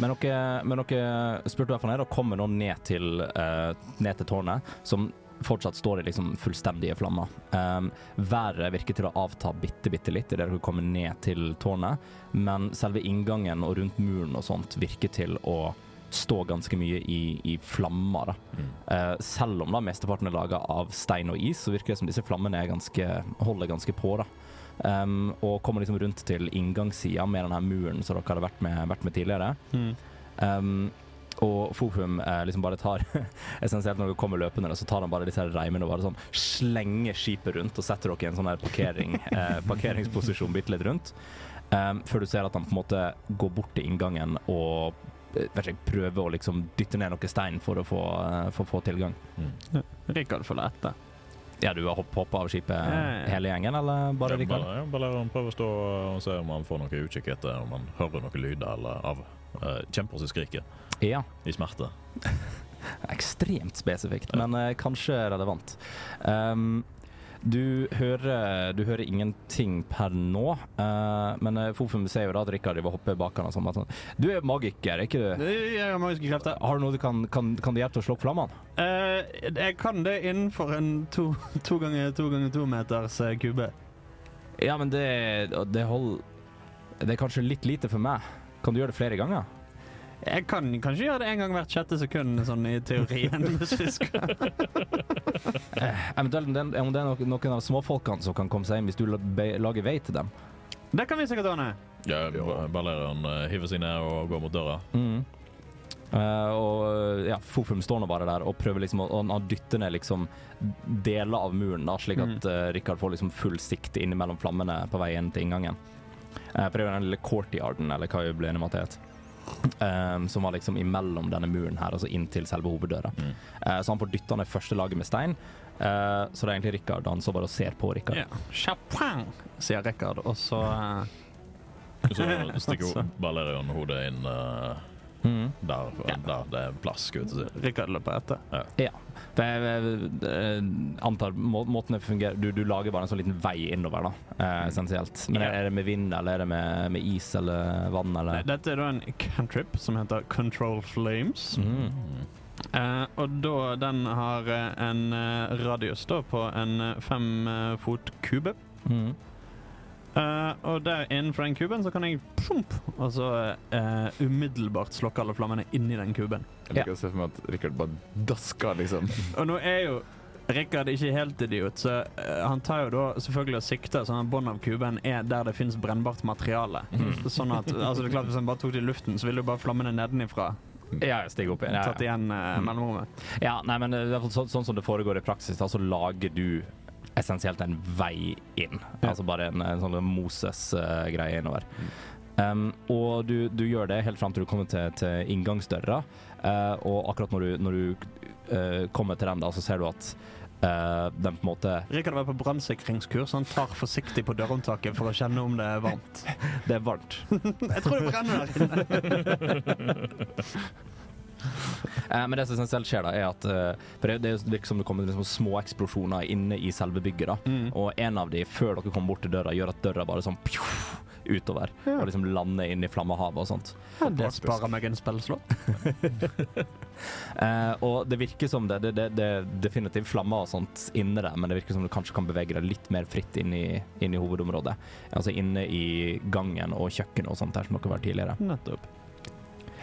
Speaker 1: Men dere, men dere spurte hvertfall ned og kommer nå ned til, eh, ned til tårnet, som fortsatt står i liksom fullstendige flammer. Um, været virker til å avta bitte, bitte litt idet dere kommer ned til tårnet, men selve inngangen og rundt muren og sånt virker til å stå ganske mye i, i flammer. Da. Eh, selv om da mesteparten er laga av stein og is, så virker det som disse flammene er ganske, holder ganske på. da. Um, og kommer liksom rundt til inngangssida med denne muren som dere hadde vært med, vært med tidligere.
Speaker 5: Hmm.
Speaker 1: Um, og Fohum eh, liksom bare tar Essensielt når dere kommer løpende, da, så tar han bare disse her reimene og bare sånn slenger skipet rundt og setter dere i en sånn her parkering, eh, parkeringsposisjon bitte litt rundt. Um, før du ser at han på en måte går bort til inngangen og eh, vet ikke, prøver å liksom dytte ned noe stein for å få, eh, for å få tilgang.
Speaker 3: Mm.
Speaker 5: Rikard får det etter.
Speaker 1: Ja, du har hopp- hoppet av skipet
Speaker 5: Ja, ja.
Speaker 1: hele gjengen, eller bare
Speaker 3: ja,
Speaker 1: Rikard?
Speaker 3: bare, ja, bare la han prøve å stå og se om han får noe utkikk etter, om han hører noen lyder eller av eh, kjemper som skriker
Speaker 1: Ja.
Speaker 3: i smerte.
Speaker 1: Ekstremt spesifikt, men eh, kanskje relevant. Ehm, du, hører, du hører ingenting per nå, eh, men uh, Fofum ser jo da at Rikard driver og hopper bak han og sånn. at han- Du er magiker, ikke du?
Speaker 5: Jeg har magiske krefter.
Speaker 1: Har du noe du kan, kan, kan du hjelpe til å slokke flammene?
Speaker 5: Eh, jeg kan det innenfor en to, to ganger to ganger to meters eh, kube.
Speaker 1: Ja, men det, det hold- Det er kanskje litt lite for meg. Kan du gjøre det flere ganger?
Speaker 5: Jeg kan kanskje gjøre det en gang hvert sjette sekund, sånn i teorien. hvis vi skal.
Speaker 1: Eventuelt om det er, om det er noen, noen av småfolkene som kan komme seg inn, hvis du la- be- lager vei til dem.
Speaker 5: Det kan vi sikkert ordne.
Speaker 3: Ja, ba- bare lar han eh, hive seg ned og gå mot døra.
Speaker 1: Mm. Eh, og ja, Fofum står nå bare der og prøver liksom å, å dytte ned liksom deler av muren, da, slik at eh, Rikard får liksom full sikt innimellom flammene på vei inn til inngangen. Eh, for det er jo den lille courtyarden, eller hva vi ble enige om at det het, eh, som var liksom imellom denne muren her, altså inn til selve hoveddøra.
Speaker 3: Mm.
Speaker 1: Eh, så han får dytta ned første laget med stein, eh, så det er egentlig Rikard. Han står bare og ser på Rikard.
Speaker 5: Ja. Chapang, sier Rikard, og så eh,
Speaker 3: Så stikker
Speaker 5: Altså.
Speaker 3: ho- Balerion hodet inn eh,
Speaker 1: Mm.
Speaker 3: der, der det er plass. skulle jeg til å si.
Speaker 5: Rikard løper etter.
Speaker 1: Det er, eh, antar må, måten det fungerer du, du lager bare en sånn liten vei innover, da, eh, essensielt. Men er, er det med vind, eller er det med, med is eller vann,
Speaker 5: Nei,
Speaker 1: eller
Speaker 5: Dette er da en cantrip som heter Control Flames.
Speaker 1: mm.
Speaker 5: Eh, og da den har eh, en eh, radius da på en eh, fem eh, fot kube.
Speaker 1: Mm.
Speaker 5: Eh, og der innenfor den kuben så kan jeg pump, og så eh, umiddelbart slokke alle flammene inni den kuben.
Speaker 2: Jeg liker å se for meg at Rikard bare dasker, liksom.
Speaker 5: Og nå er jo Rikard ikke helt idiot, så eh, han tar jo da selvfølgelig og sikter sånn at bånd av kuben er der det
Speaker 1: Mm.
Speaker 5: finnes brennbart materiale. Sånn at, altså det er klart Hvis han bare tok det i luften, så ville jo bare flammene nedenifra
Speaker 1: Ja, jeg stiger opp igjen. Ja,
Speaker 5: Tatt
Speaker 1: ja.
Speaker 5: igjen eh,
Speaker 1: Mm.
Speaker 5: mellomrommet.
Speaker 1: ja, nei, men eh, i hvert fall så, sånn som det foregår i praksis, da, så lager du essensielt en vei inn.
Speaker 5: Ja.
Speaker 1: Altså bare en, en sånn Moses-greie innover. Um, og du, du gjør det helt fram til du kommer til, til inngangsdøra, eh, og akkurat når du, når du eh, kommer til den, da, så ser du at eh, den på en måte
Speaker 5: Rikard var på brannsikringskurs. Han tar forsiktig på dørhåndtaket for å kjenne om det er varmt.
Speaker 1: Det er varmt.
Speaker 5: Jeg tror det brenner der inne.
Speaker 1: Eh, men det som essensielt skjer, da, er at eh, For det, det virker som det kommer liksom, små eksplosjoner inne i selve bygget. da
Speaker 5: Mm.
Speaker 1: Og en av de, før dere kommer bort til døra, gjør at døra bare sånn pjoff, utover.
Speaker 5: Ja.
Speaker 1: Og liksom lander inn i flammehavet og sånt.
Speaker 5: Ja, det sparer meg en spillslott.
Speaker 1: Eh, og det virker som det, det, det, det er definitivt flammer og sånt inne der, men det virker som du kanskje kan bevege deg litt mer fritt inn i, inn i hovedområdet. Altså inne i gangen og kjøkkenet og sånt der som dere var tidligere.
Speaker 5: Nettopp.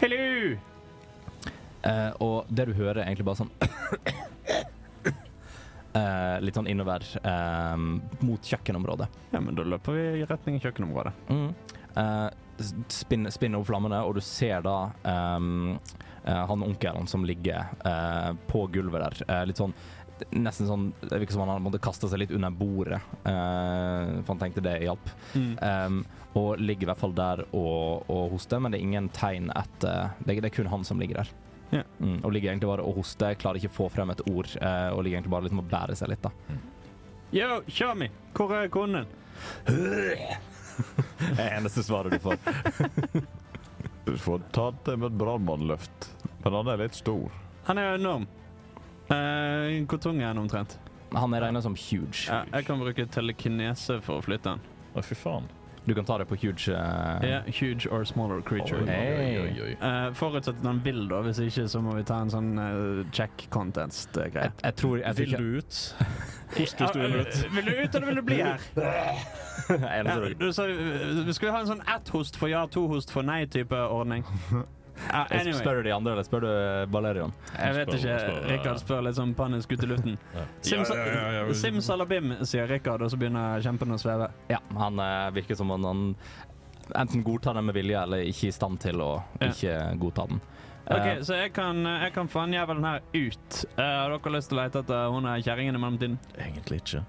Speaker 5: Hello!
Speaker 1: Eh, og det du hører er egentlig bare sånn eh, Litt sånn innover eh, mot kjøkkenområdet.
Speaker 5: Ja, men da løper vi i retning kjøkkenområdet.
Speaker 1: Mm. Eh, s- spinn- spinner opp flammene, og du ser da ehm, eh, han onkelen som ligger eh, på gulvet der. Eh, litt sånn Nesten sånn Det virker som han hadde kaste seg litt under bordet, eh, for han tenkte det hjalp.
Speaker 5: Eh,
Speaker 1: Ehm, og ligger i hvert fall der og, og hoster, men det er ingen tegn etter Det, er- det er kun han som ligger der.
Speaker 5: Ja.
Speaker 1: Mm, og ligger egentlig bare og hoster, klarer ikke å få frem et ord, eh, og ligger egentlig bare liksom og bærer seg litt, da.
Speaker 5: Yo, kjør meg! Hvor er konen?
Speaker 1: Det er eneste svaret du får.
Speaker 2: Du får tatt det med et brannmannløft, men han er litt stor.
Speaker 5: Han er jo enorm. Eh, hvor tung er han omtrent?
Speaker 1: Han er regnet som huge.
Speaker 5: Ja, jeg kan bruke telekinese for å flytte han.
Speaker 3: Å, fy faen.
Speaker 1: Du kan ta det på huge eh,
Speaker 5: Ja, huge or smaller creature.
Speaker 3: Oi, oi, oi, oi.
Speaker 5: Eh, forutsatt at han vil, da. Hvis ikke så må vi ta en sånn eh, check contest-greie.
Speaker 1: Jeg, jeg tror jeg tror
Speaker 3: Vil
Speaker 1: ikke-
Speaker 3: du ut? Hvordan du vil ut?
Speaker 5: eh, Vil du ut, eller vil du bli her?
Speaker 1: Jeg
Speaker 5: Ja,
Speaker 1: tror ikke.
Speaker 5: du, så, eh, skal vi ha en sånn ett-host for ja, to-host for nei-type ordning? Ja,
Speaker 1: Jeg
Speaker 5: anyway,
Speaker 1: Spør du de andre, eller spør du Valerian?
Speaker 5: jeg vet
Speaker 3: Spør-
Speaker 5: ikke.
Speaker 3: spør-
Speaker 5: Rikard spør litt sånn panisk ut i luften.
Speaker 3: Ja.
Speaker 5: Sims-
Speaker 3: Ja, ja, ja, ja.
Speaker 5: Simsalabim, sier Rikard, og så begynner kjempen å sveve.
Speaker 1: Ja, han eh, virker som han, han enten godtar den med vilje, eller ikke i stand til å
Speaker 5: Ja.
Speaker 1: ikke godta den. Eh,
Speaker 5: Ok, Så jeg kan, jeg kan få den jævelen her ut. Eh, Har dere lyst til å lete etter hun her kjerringen i mellomtiden?
Speaker 3: Egentlig ikke.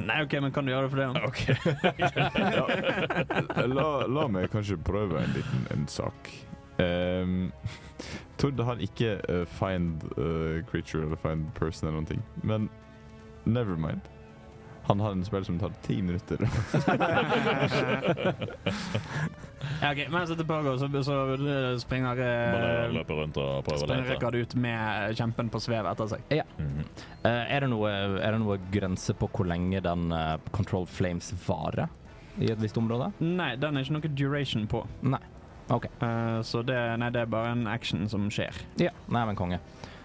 Speaker 5: Nei, OK, men kan du gjøre det for det? da?
Speaker 3: OK.
Speaker 2: Ja. La, la meg kanskje prøve en liten en sak. Um, Tord har ikke eh, find eh, creature eller find person eller noen ting, men never mind. Han har en spill som tar ti minutter.
Speaker 5: Ja, ok, Mens dette pågår, så, så eh, springer, eh,
Speaker 3: Bare løpe rundt og prøve å
Speaker 5: springer
Speaker 3: lete.
Speaker 5: Rikard ut med kjempen på svev etter seg.
Speaker 3: Mhm.
Speaker 1: eh, er, det noe, er det noe grense på hvor lenge den eh, Control Flames varer i et visst område?
Speaker 5: Nei, den er ikke noe duration på.
Speaker 1: Nei. Ok.
Speaker 5: Eh, så det, nei, det er bare en action som skjer.
Speaker 1: Ja. Nei, men konge.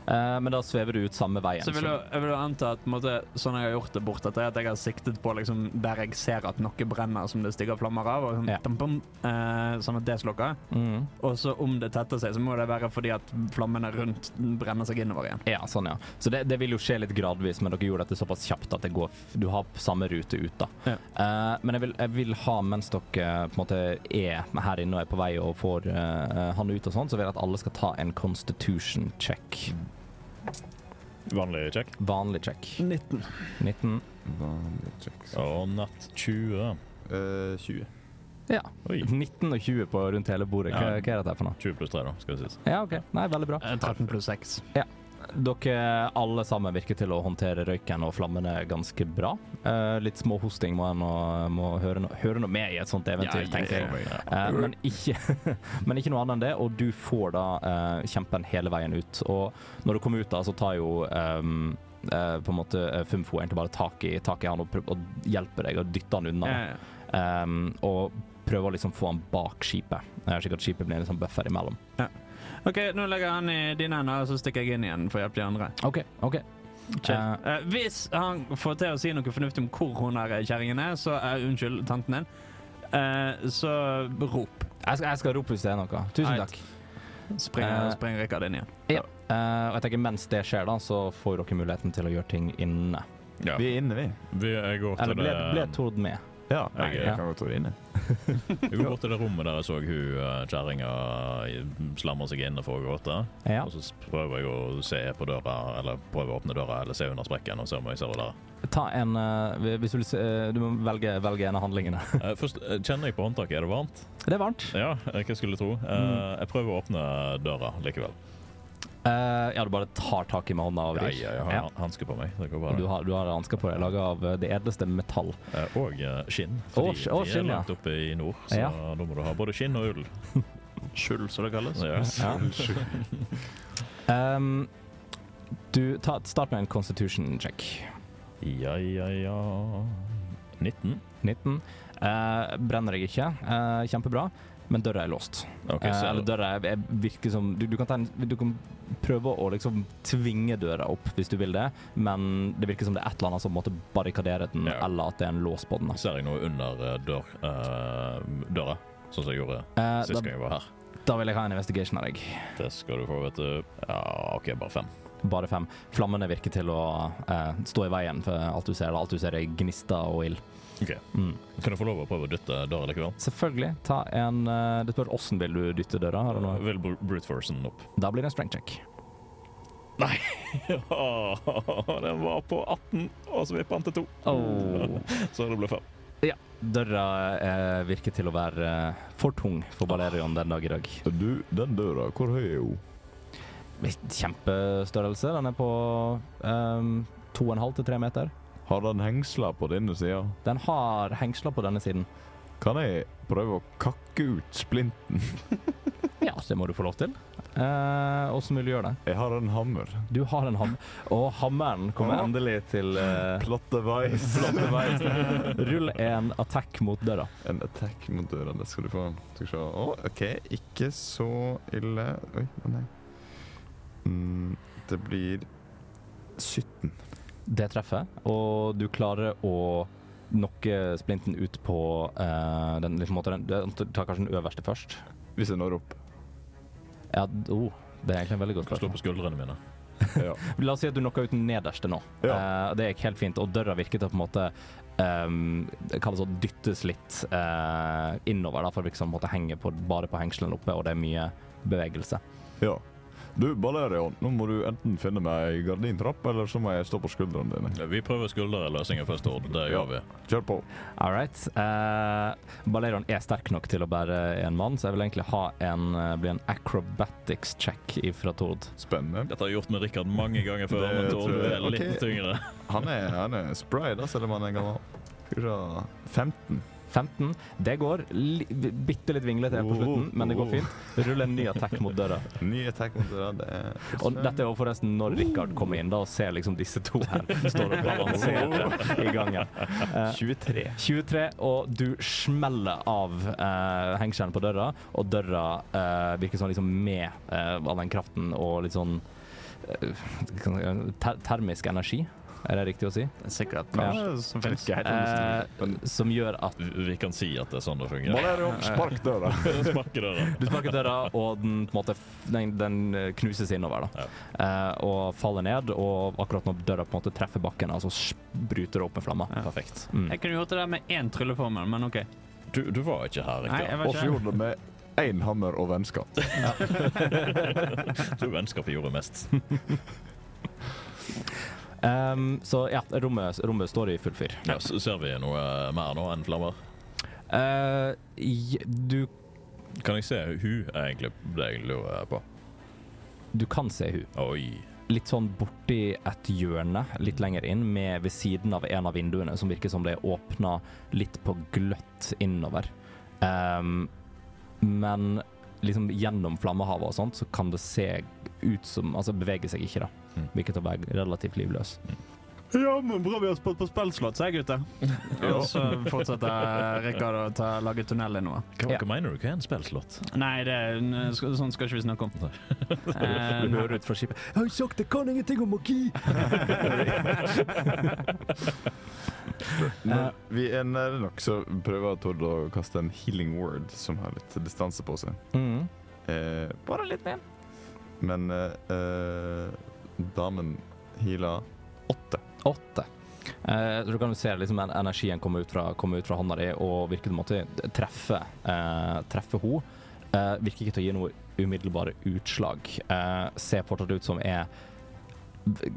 Speaker 1: Eh, men da svever du ut samme veien.
Speaker 5: Så jeg vil, jo- jeg vil jo anta at på en måte, sånn jeg har gjort det bort etter, at jeg har siktet på liksom, der jeg ser at noe brenner som det stiger flammer av, og sånn,
Speaker 1: Ja.
Speaker 5: dum, bum, eh, sånn at det slukker.
Speaker 1: Mm.
Speaker 5: Og så om det tetter seg, så må det være fordi at flammene rundt brenner seg innover igjen.
Speaker 1: Ja, sånn, ja. Så det, det vil jo skje litt gradvis, men dere gjorde dette såpass kjapt at det går, du har samme rute ut, da.
Speaker 5: Ja.
Speaker 1: Eh, men jeg vil, jeg vil ha, mens dere eh, på en måte er her inne og er på vei og får eh, han ut og sånn, så vil jeg at alle skal ta en constitution check.
Speaker 3: Vanlig check.
Speaker 1: Vanlig check.
Speaker 5: 19.
Speaker 1: 19.
Speaker 2: Vanlig checks.
Speaker 3: Og natt 20.
Speaker 2: Eh, 20.
Speaker 1: Ja.
Speaker 3: Oi.
Speaker 1: 19 og 20 på rundt hele bordet. Hva,
Speaker 3: Ja.
Speaker 1: hva er dette for noe?
Speaker 3: 20 pluss 3, da, skal det sies.
Speaker 1: Ja, OK. Nei, veldig bra.
Speaker 5: 13 pluss 6.
Speaker 1: Dere alle sammen virker til å håndtere røyken og flammene ganske bra. Eh, litt småhosting må en nå- må høre, no høre noe med i et sånt eventyr,
Speaker 5: ja,
Speaker 1: tenker jeg. Eh, men, ikke, men ikke noe annet enn det, og du får da eh, kjempen hele veien ut. Og når du kommer ut, da, så tar jo ehm, eh, på en måte eh, Fumfo egentlig bare tak i, tak i han og, prøv- og hjelper deg og dytter han unna.
Speaker 5: Eh,
Speaker 1: Ehm, og prøver å liksom få han bak skipet, eh, slik at skipet blir en liksom buffer imellom.
Speaker 5: OK, nå legger jeg han i dine hender, og så stikker jeg inn igjen for å hjelpe de andre.
Speaker 1: OK. ok.
Speaker 5: Chill.
Speaker 1: Eh,
Speaker 5: Eh, hvis han får til å si noe fornuftig om hvor hun her kjerringen er, så er Unnskyld, tanten din. eh, så rop.
Speaker 1: jeg, skal, jeg skal rope hvis det er noe. Tusen
Speaker 5: Alright.
Speaker 1: takk.
Speaker 5: Springer,
Speaker 1: Eh.
Speaker 5: springer Rikard inn igjen.
Speaker 1: Eh, og jeg tenker Mens det skjer, da, så får dere muligheten til å gjøre ting inne.
Speaker 3: Ja.
Speaker 2: Vi er inne, vi.
Speaker 3: Vi, jeg går til
Speaker 1: Eller ble, ble
Speaker 3: det
Speaker 1: Tord med?
Speaker 2: Ja,
Speaker 3: Jeg-
Speaker 2: jeg,
Speaker 1: ja.
Speaker 2: kan godt være inne.
Speaker 3: Jeg går bort til det rommet der jeg så hun eh, kjerringa i- slamre seg inne for å gråte.
Speaker 1: Ja.
Speaker 3: Og så s- prøver jeg å se på døra, eller prøver å åpne døra, eller se under sprekken og se om jeg ser henne der.
Speaker 1: Ta en eh, Hvis du vil se eh, Du må velge, velge en av handlingene.
Speaker 3: Eh, Først eh, kjenner jeg på håndtaket. Er det varmt?
Speaker 1: Det er varmt.
Speaker 3: Ja, eh, hva skulle jeg tro. Eh,
Speaker 1: Mm.
Speaker 3: Jeg prøver å åpne døra likevel.
Speaker 1: Eh, ja, du bare tar tak i med hånda og
Speaker 3: Ja,
Speaker 1: vrir.
Speaker 3: ja, jeg har
Speaker 1: Ja.
Speaker 3: ja. hansker på meg. Det
Speaker 1: Du
Speaker 3: går bare.
Speaker 1: har, du har hansker på deg, laga av eh, det edleste metall.
Speaker 3: Eh, Og eh, skinn.
Speaker 1: Å,
Speaker 3: Fordi
Speaker 1: sk- å,
Speaker 3: de er
Speaker 1: skinn, ja.
Speaker 3: langt oppe i nord, så
Speaker 1: Ja.
Speaker 3: da må du ha både skinn og ull.
Speaker 4: Skjul, som det kalles.
Speaker 3: Ja.
Speaker 1: Ja. Ehm, du, ta, start med en constitution check.
Speaker 3: ja, ja, ja 19.
Speaker 1: 19. Eh, brenner deg ikke. Eh, kjempebra. Men døra er låst.
Speaker 3: OK,
Speaker 1: Eh,
Speaker 3: så
Speaker 1: eller døra er, er, virker som du, du, kan ta en, du kan prøve å liksom tvinge døra opp hvis du vil det, men det virker som det er et eller annet som måtte barrikadere den,
Speaker 3: Ja.
Speaker 1: eller at det er en lås på den. da.
Speaker 3: ser jeg noe under eh, dør, eh, døra, sånn som jeg gjorde
Speaker 1: Eh,
Speaker 3: sist
Speaker 1: da,
Speaker 3: gang jeg var her.
Speaker 1: da vil jeg ha en investigation av deg.
Speaker 3: Det skal du få, vet du. Ja, OK, bare fem.
Speaker 1: Bare fem. Flammene virker til å eh, stå i veien for alt du ser. da. Alt du ser er gnister og ild.
Speaker 3: Ok.
Speaker 1: Mm.
Speaker 3: Kan jeg få lov å prøve å dytte døra likevel?
Speaker 1: Selvfølgelig. Ta en eh, Det spørs åssen vil du dytte døra. Har du noe?
Speaker 3: Vil br- brute force den opp?
Speaker 1: Da blir det en strength check.
Speaker 3: den var på 18, og så vippa den til 2. Så det ble 5.
Speaker 1: Døra eh, virker til å være eh, for tung for Balerion den dag i dag.
Speaker 2: Du, den døra, hvor høy er hun?
Speaker 1: Kjempestørrelse. Den er på ehm, to og en halv til tre meter.
Speaker 2: Har den hengsler på denne sida?
Speaker 1: Den har hengsler på denne siden.
Speaker 2: Kan jeg prøve å kakke ut splinten?
Speaker 1: Ja, det må du få lov til. Eh, Åssen vil du gjøre det?
Speaker 2: Jeg har en hammer.
Speaker 1: Du har en hammer. Og hammeren kommer
Speaker 2: Å.
Speaker 1: endelig til eh,
Speaker 2: Platteveis.
Speaker 1: flotte vei. Rull en attack mot døra.
Speaker 2: En attack mot døra, det skal du få. Skal vi se. Å, OK, ikke så ille. Oi, å nei. Mm, det blir 17.
Speaker 1: Det treffer, og du klarer å knocke splinten ut på eh, den, liksom, måte, den Du tar kanskje den øverste først.
Speaker 2: Hvis jeg når opp.
Speaker 1: Ja, d- oh, det er egentlig en veldig godt
Speaker 3: Slå
Speaker 1: spørsmål.
Speaker 3: på skuldrene mine.
Speaker 2: Ja.
Speaker 1: La oss si at du knocka ut den nederste nå. Eh, det gikk helt fint, og døra virket til å på en måte ehm, det kalles å dyttes litt eh, innover, da, for å liksom, på en måte henge på, bare på hengselen oppe, og det er mye bevegelse.
Speaker 2: ja. Du, Balerion, nå må du enten finne meg ei gardintrapp, eller så må jeg stå på skuldrene dine.
Speaker 3: Vi prøver skulderløsninger først, Ord. Det
Speaker 2: Ja.
Speaker 3: gjør vi.
Speaker 2: Kjør på.
Speaker 1: All right. Eh, Balerion er sterk nok til å bære en mann, så jeg vil egentlig ha en, eh, bli en acrobatics check ifra Tord.
Speaker 2: Spennende.
Speaker 3: Dette har jeg gjort med Rikard mange ganger før,
Speaker 2: Det
Speaker 3: men Tord
Speaker 2: tror
Speaker 3: du
Speaker 2: jeg.
Speaker 3: er litt
Speaker 2: Ok.
Speaker 3: tyngre.
Speaker 2: Han er, han er spry, da, selv om han er gammel. Skal vi se 15.
Speaker 1: 15. Det går li bitte litt vinglete helt på slutten, men det går fint. Rull en ny attack mot døra.
Speaker 2: Ny attack mot døra, det er
Speaker 1: Og dette er jo forresten når Richard kommer inn da og ser liksom disse to her står og balanserer i gangen. Eh,
Speaker 2: 23.
Speaker 1: 23, og du smeller av uh, hengskjellen på døra, og døra eh, virker sånn liksom med eh, all den kraften og litt sånn eh, kan jeg- ter termisk energi, er det riktig å si?
Speaker 4: Sikkert.
Speaker 1: Ja.
Speaker 4: Kanskje, som finnes.
Speaker 1: Eh, som gjør at
Speaker 3: Vi vi kan si at det er sånn det fungerer.
Speaker 2: Balerion, spark døra.
Speaker 3: Sparke døra.
Speaker 1: du sparker døra, og den, på en måte, f- den, den eh, knuses innover. da. Eh, og faller ned, og akkurat når døra på en måte treffer bakken, altså spruter det opp med flammer.
Speaker 4: Ja.
Speaker 3: Perfekt.
Speaker 1: Mm.
Speaker 4: Jeg kunne gjort det der med én trylleformel, men OK.
Speaker 3: Du, du var ikke her,
Speaker 4: Nei, jeg
Speaker 3: Rikard.
Speaker 4: var
Speaker 2: Og så
Speaker 4: ikke
Speaker 2: gjorde det med én hammer og vennskap.
Speaker 3: Du vennskapet gjorde mest.
Speaker 1: Ehm, så ja, rommet, rommet står i full fyr.
Speaker 3: Ja, så ser vi noe mer nå enn flammer?
Speaker 1: Eh, i- du,
Speaker 3: Kan jeg se hun er egentlig det jeg lurer på?
Speaker 1: du kan se hun.
Speaker 3: Oi.
Speaker 1: Litt sånn borti et hjørne, litt lenger inn, med ved siden av en av vinduene, som virker som det er åpna litt på gløtt innover. Ehm, men liksom gjennom flammehavet og sånt, så kan det se ut som Altså bevege seg ikke, da.
Speaker 3: Mm.
Speaker 1: Virker til å være relativt livløs.
Speaker 4: Ja, men bra vi har spilt på spillslott, sier jeg, gutter.
Speaker 2: Ja.
Speaker 4: Og så fortsetter Rikard å ta, lage tunnel innover.
Speaker 3: Hva,
Speaker 1: Ja.
Speaker 3: hva mener du? Hva er en spillslott?
Speaker 4: Nei, det, er-
Speaker 5: eh,
Speaker 4: n- sk- sånn skal ikke vi snakke om. Eh,
Speaker 1: Du
Speaker 4: nei.
Speaker 1: hører ut fra skipet 'Jeg har sagt jeg kan ingenting om magi!'
Speaker 2: Når vi er nære nok, så prøver Tord å kaste en healing word som har litt distanse på seg.
Speaker 1: Mm.
Speaker 2: Eh,
Speaker 1: Bare litt mer.
Speaker 2: men eh, eh, damen healer åtte.
Speaker 1: Åtte. Eh, så du kan jo se liksom, en- energien komme ut fra, komme ut fra hånda di og virker på en måte t- treffe, eh, treffe ho. Eh, virker ikke til å gi noe umiddelbare utslag. Eh, ser fortsatt ut som er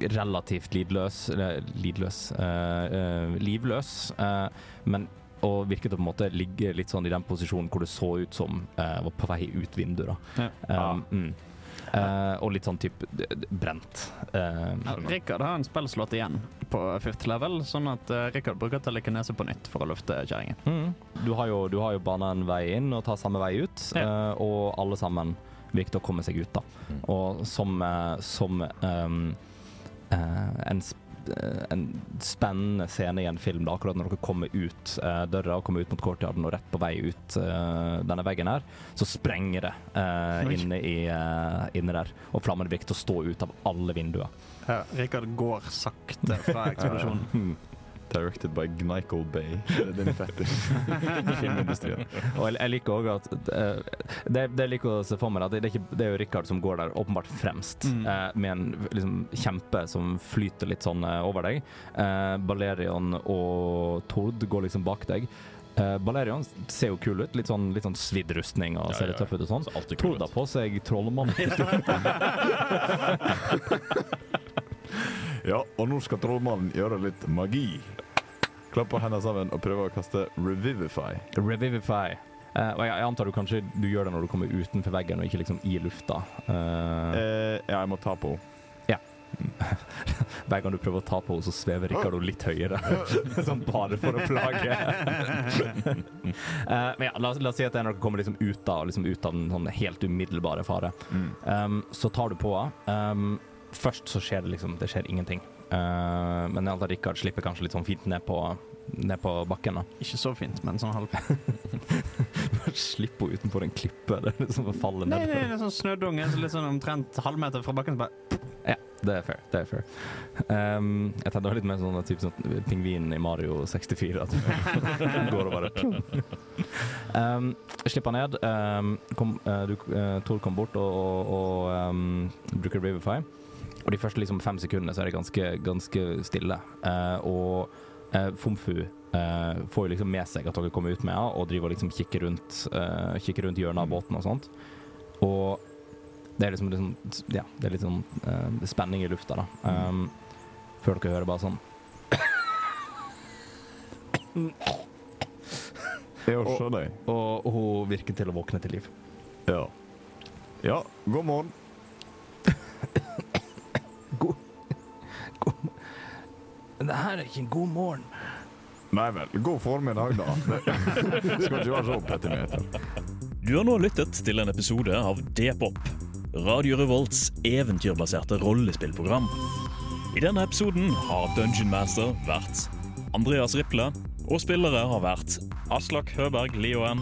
Speaker 1: relativt lidløs, eller lidløs eh, eh, livløs, eh, men og virket å på en måte ligge litt sånn i den posisjonen hvor det så ut som eh, var på vei ut vinduet. da.
Speaker 5: Ja.
Speaker 1: Um, mm. Eh, og litt sånn typ d- d- brent. Eh,
Speaker 5: Ja, Rikard har en spillslott igjen på fifth level, sånn at eh, Rikard bruker telekinese på nytt for å løfte kjerringen.
Speaker 1: Mm. Du har jo, du har jo bana en vei inn og tar samme vei ut, eh, og alle sammen virker å komme seg ut, da.
Speaker 6: Mm.
Speaker 1: Og som, eh, som ehm, eh, en, sp eh, en spennende scene i en film, da, akkurat når dere kommer ut eh, døra og kommer ut mot courtyarden og rett på vei ut eh, denne veggen her, så sprenger det eh,
Speaker 5: Oi.
Speaker 1: inne, i, eh, inne der. Og flammene virker å stå ut av alle vinduer.
Speaker 5: Ja, Rikard går sakte fra eksplosjonen.
Speaker 2: eh, Directed by Gnycol Bay. Din fetter. I filmindustrien.
Speaker 1: Og jeg, jeg liker òg at eh, det, det jeg liker å se for meg, at det, det, er ikke, det er jo Rikard som går der åpenbart fremst,
Speaker 5: Mm.
Speaker 1: eh, med en liksom, kjempe som flyter litt sånn eh, over deg. Eh, Balerion og Tord går liksom bak deg. Eh, Balerion ser jo kul ut, litt sånn, litt sånn svidd rustning og
Speaker 6: Ja,
Speaker 1: ser
Speaker 6: ja,
Speaker 1: litt tøff ut og sånn.
Speaker 6: Så alt er
Speaker 1: Tord
Speaker 6: kult.
Speaker 1: har på seg trollmann.
Speaker 2: Ja, og nå skal trollmannen gjøre litt magi. Klapp på hendene sammen og prøve å kaste Revivify.
Speaker 1: Revivify. Eh, og jeg, jeg antar du kanskje du gjør det når du kommer utenfor veggen og ikke liksom i lufta. Eh,
Speaker 2: Eh, ja, jeg må ta på henne.
Speaker 1: Hver gang du prøver å ta på henne, så svever Rikard henne litt høyere. sånn bare for å plage. Eh, men ja, la, oss- la oss si at det er når dere kommer liksom ut av, liksom ut av den sånn helt umiddelbare fare. Um, så tar du på henne. Um, først så skjer det liksom Det skjer ingenting. Eh, men jeg antar Rikard slipper kanskje litt sånn fint ned på, ned på bakken. da
Speaker 5: Ikke så fint, men sånn halv...
Speaker 1: Slipp henne utenfor en klippe. Det er liksom å falle
Speaker 5: Nei,
Speaker 1: ned.
Speaker 5: nei, det er sånn snødunge, så litt sånn omtrent halvmeter fra bakken. så Bare,
Speaker 1: Det er fair. det er fair um, Jeg tenkte det var litt mer sånn typ sånn pingvinen i Mario 64. At den går og bare pjong. um, Slipp han ned. Um, kom, eh, du, eh, Tor kom bort og, og, og um, bruker Riverfy. Og de første liksom, fem sekundene så er det ganske, ganske stille. Eh, og eh, Fomfu eh, får jo liksom med seg at dere kommer ut med henne, og driver og liksom kikker rundt, eh, kikker rundt hjørnet av båten og sånt. Og det er liksom, liksom Ja, det er litt sånn eh, spenning i lufta, da. Ehm, før dere hører bare sånn
Speaker 2: Jeg også deg.
Speaker 1: Og og hun virker til å våkne til liv.
Speaker 2: Ja. Ja, god morgen.
Speaker 1: Det her er ikke en god morgen.
Speaker 2: Nei vel, god formiddag, da. skal ikke være så petimeter.
Speaker 3: Du har nå lyttet til en episode av D-pop, Radio Revolts eventyrbaserte rollespillprogram. I denne episoden har Dungeon Master vært Andreas Riple, og spillere har vært Aslak Høberg Lioen,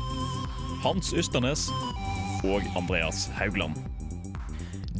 Speaker 3: Hans Ysternes og Andreas Haugland.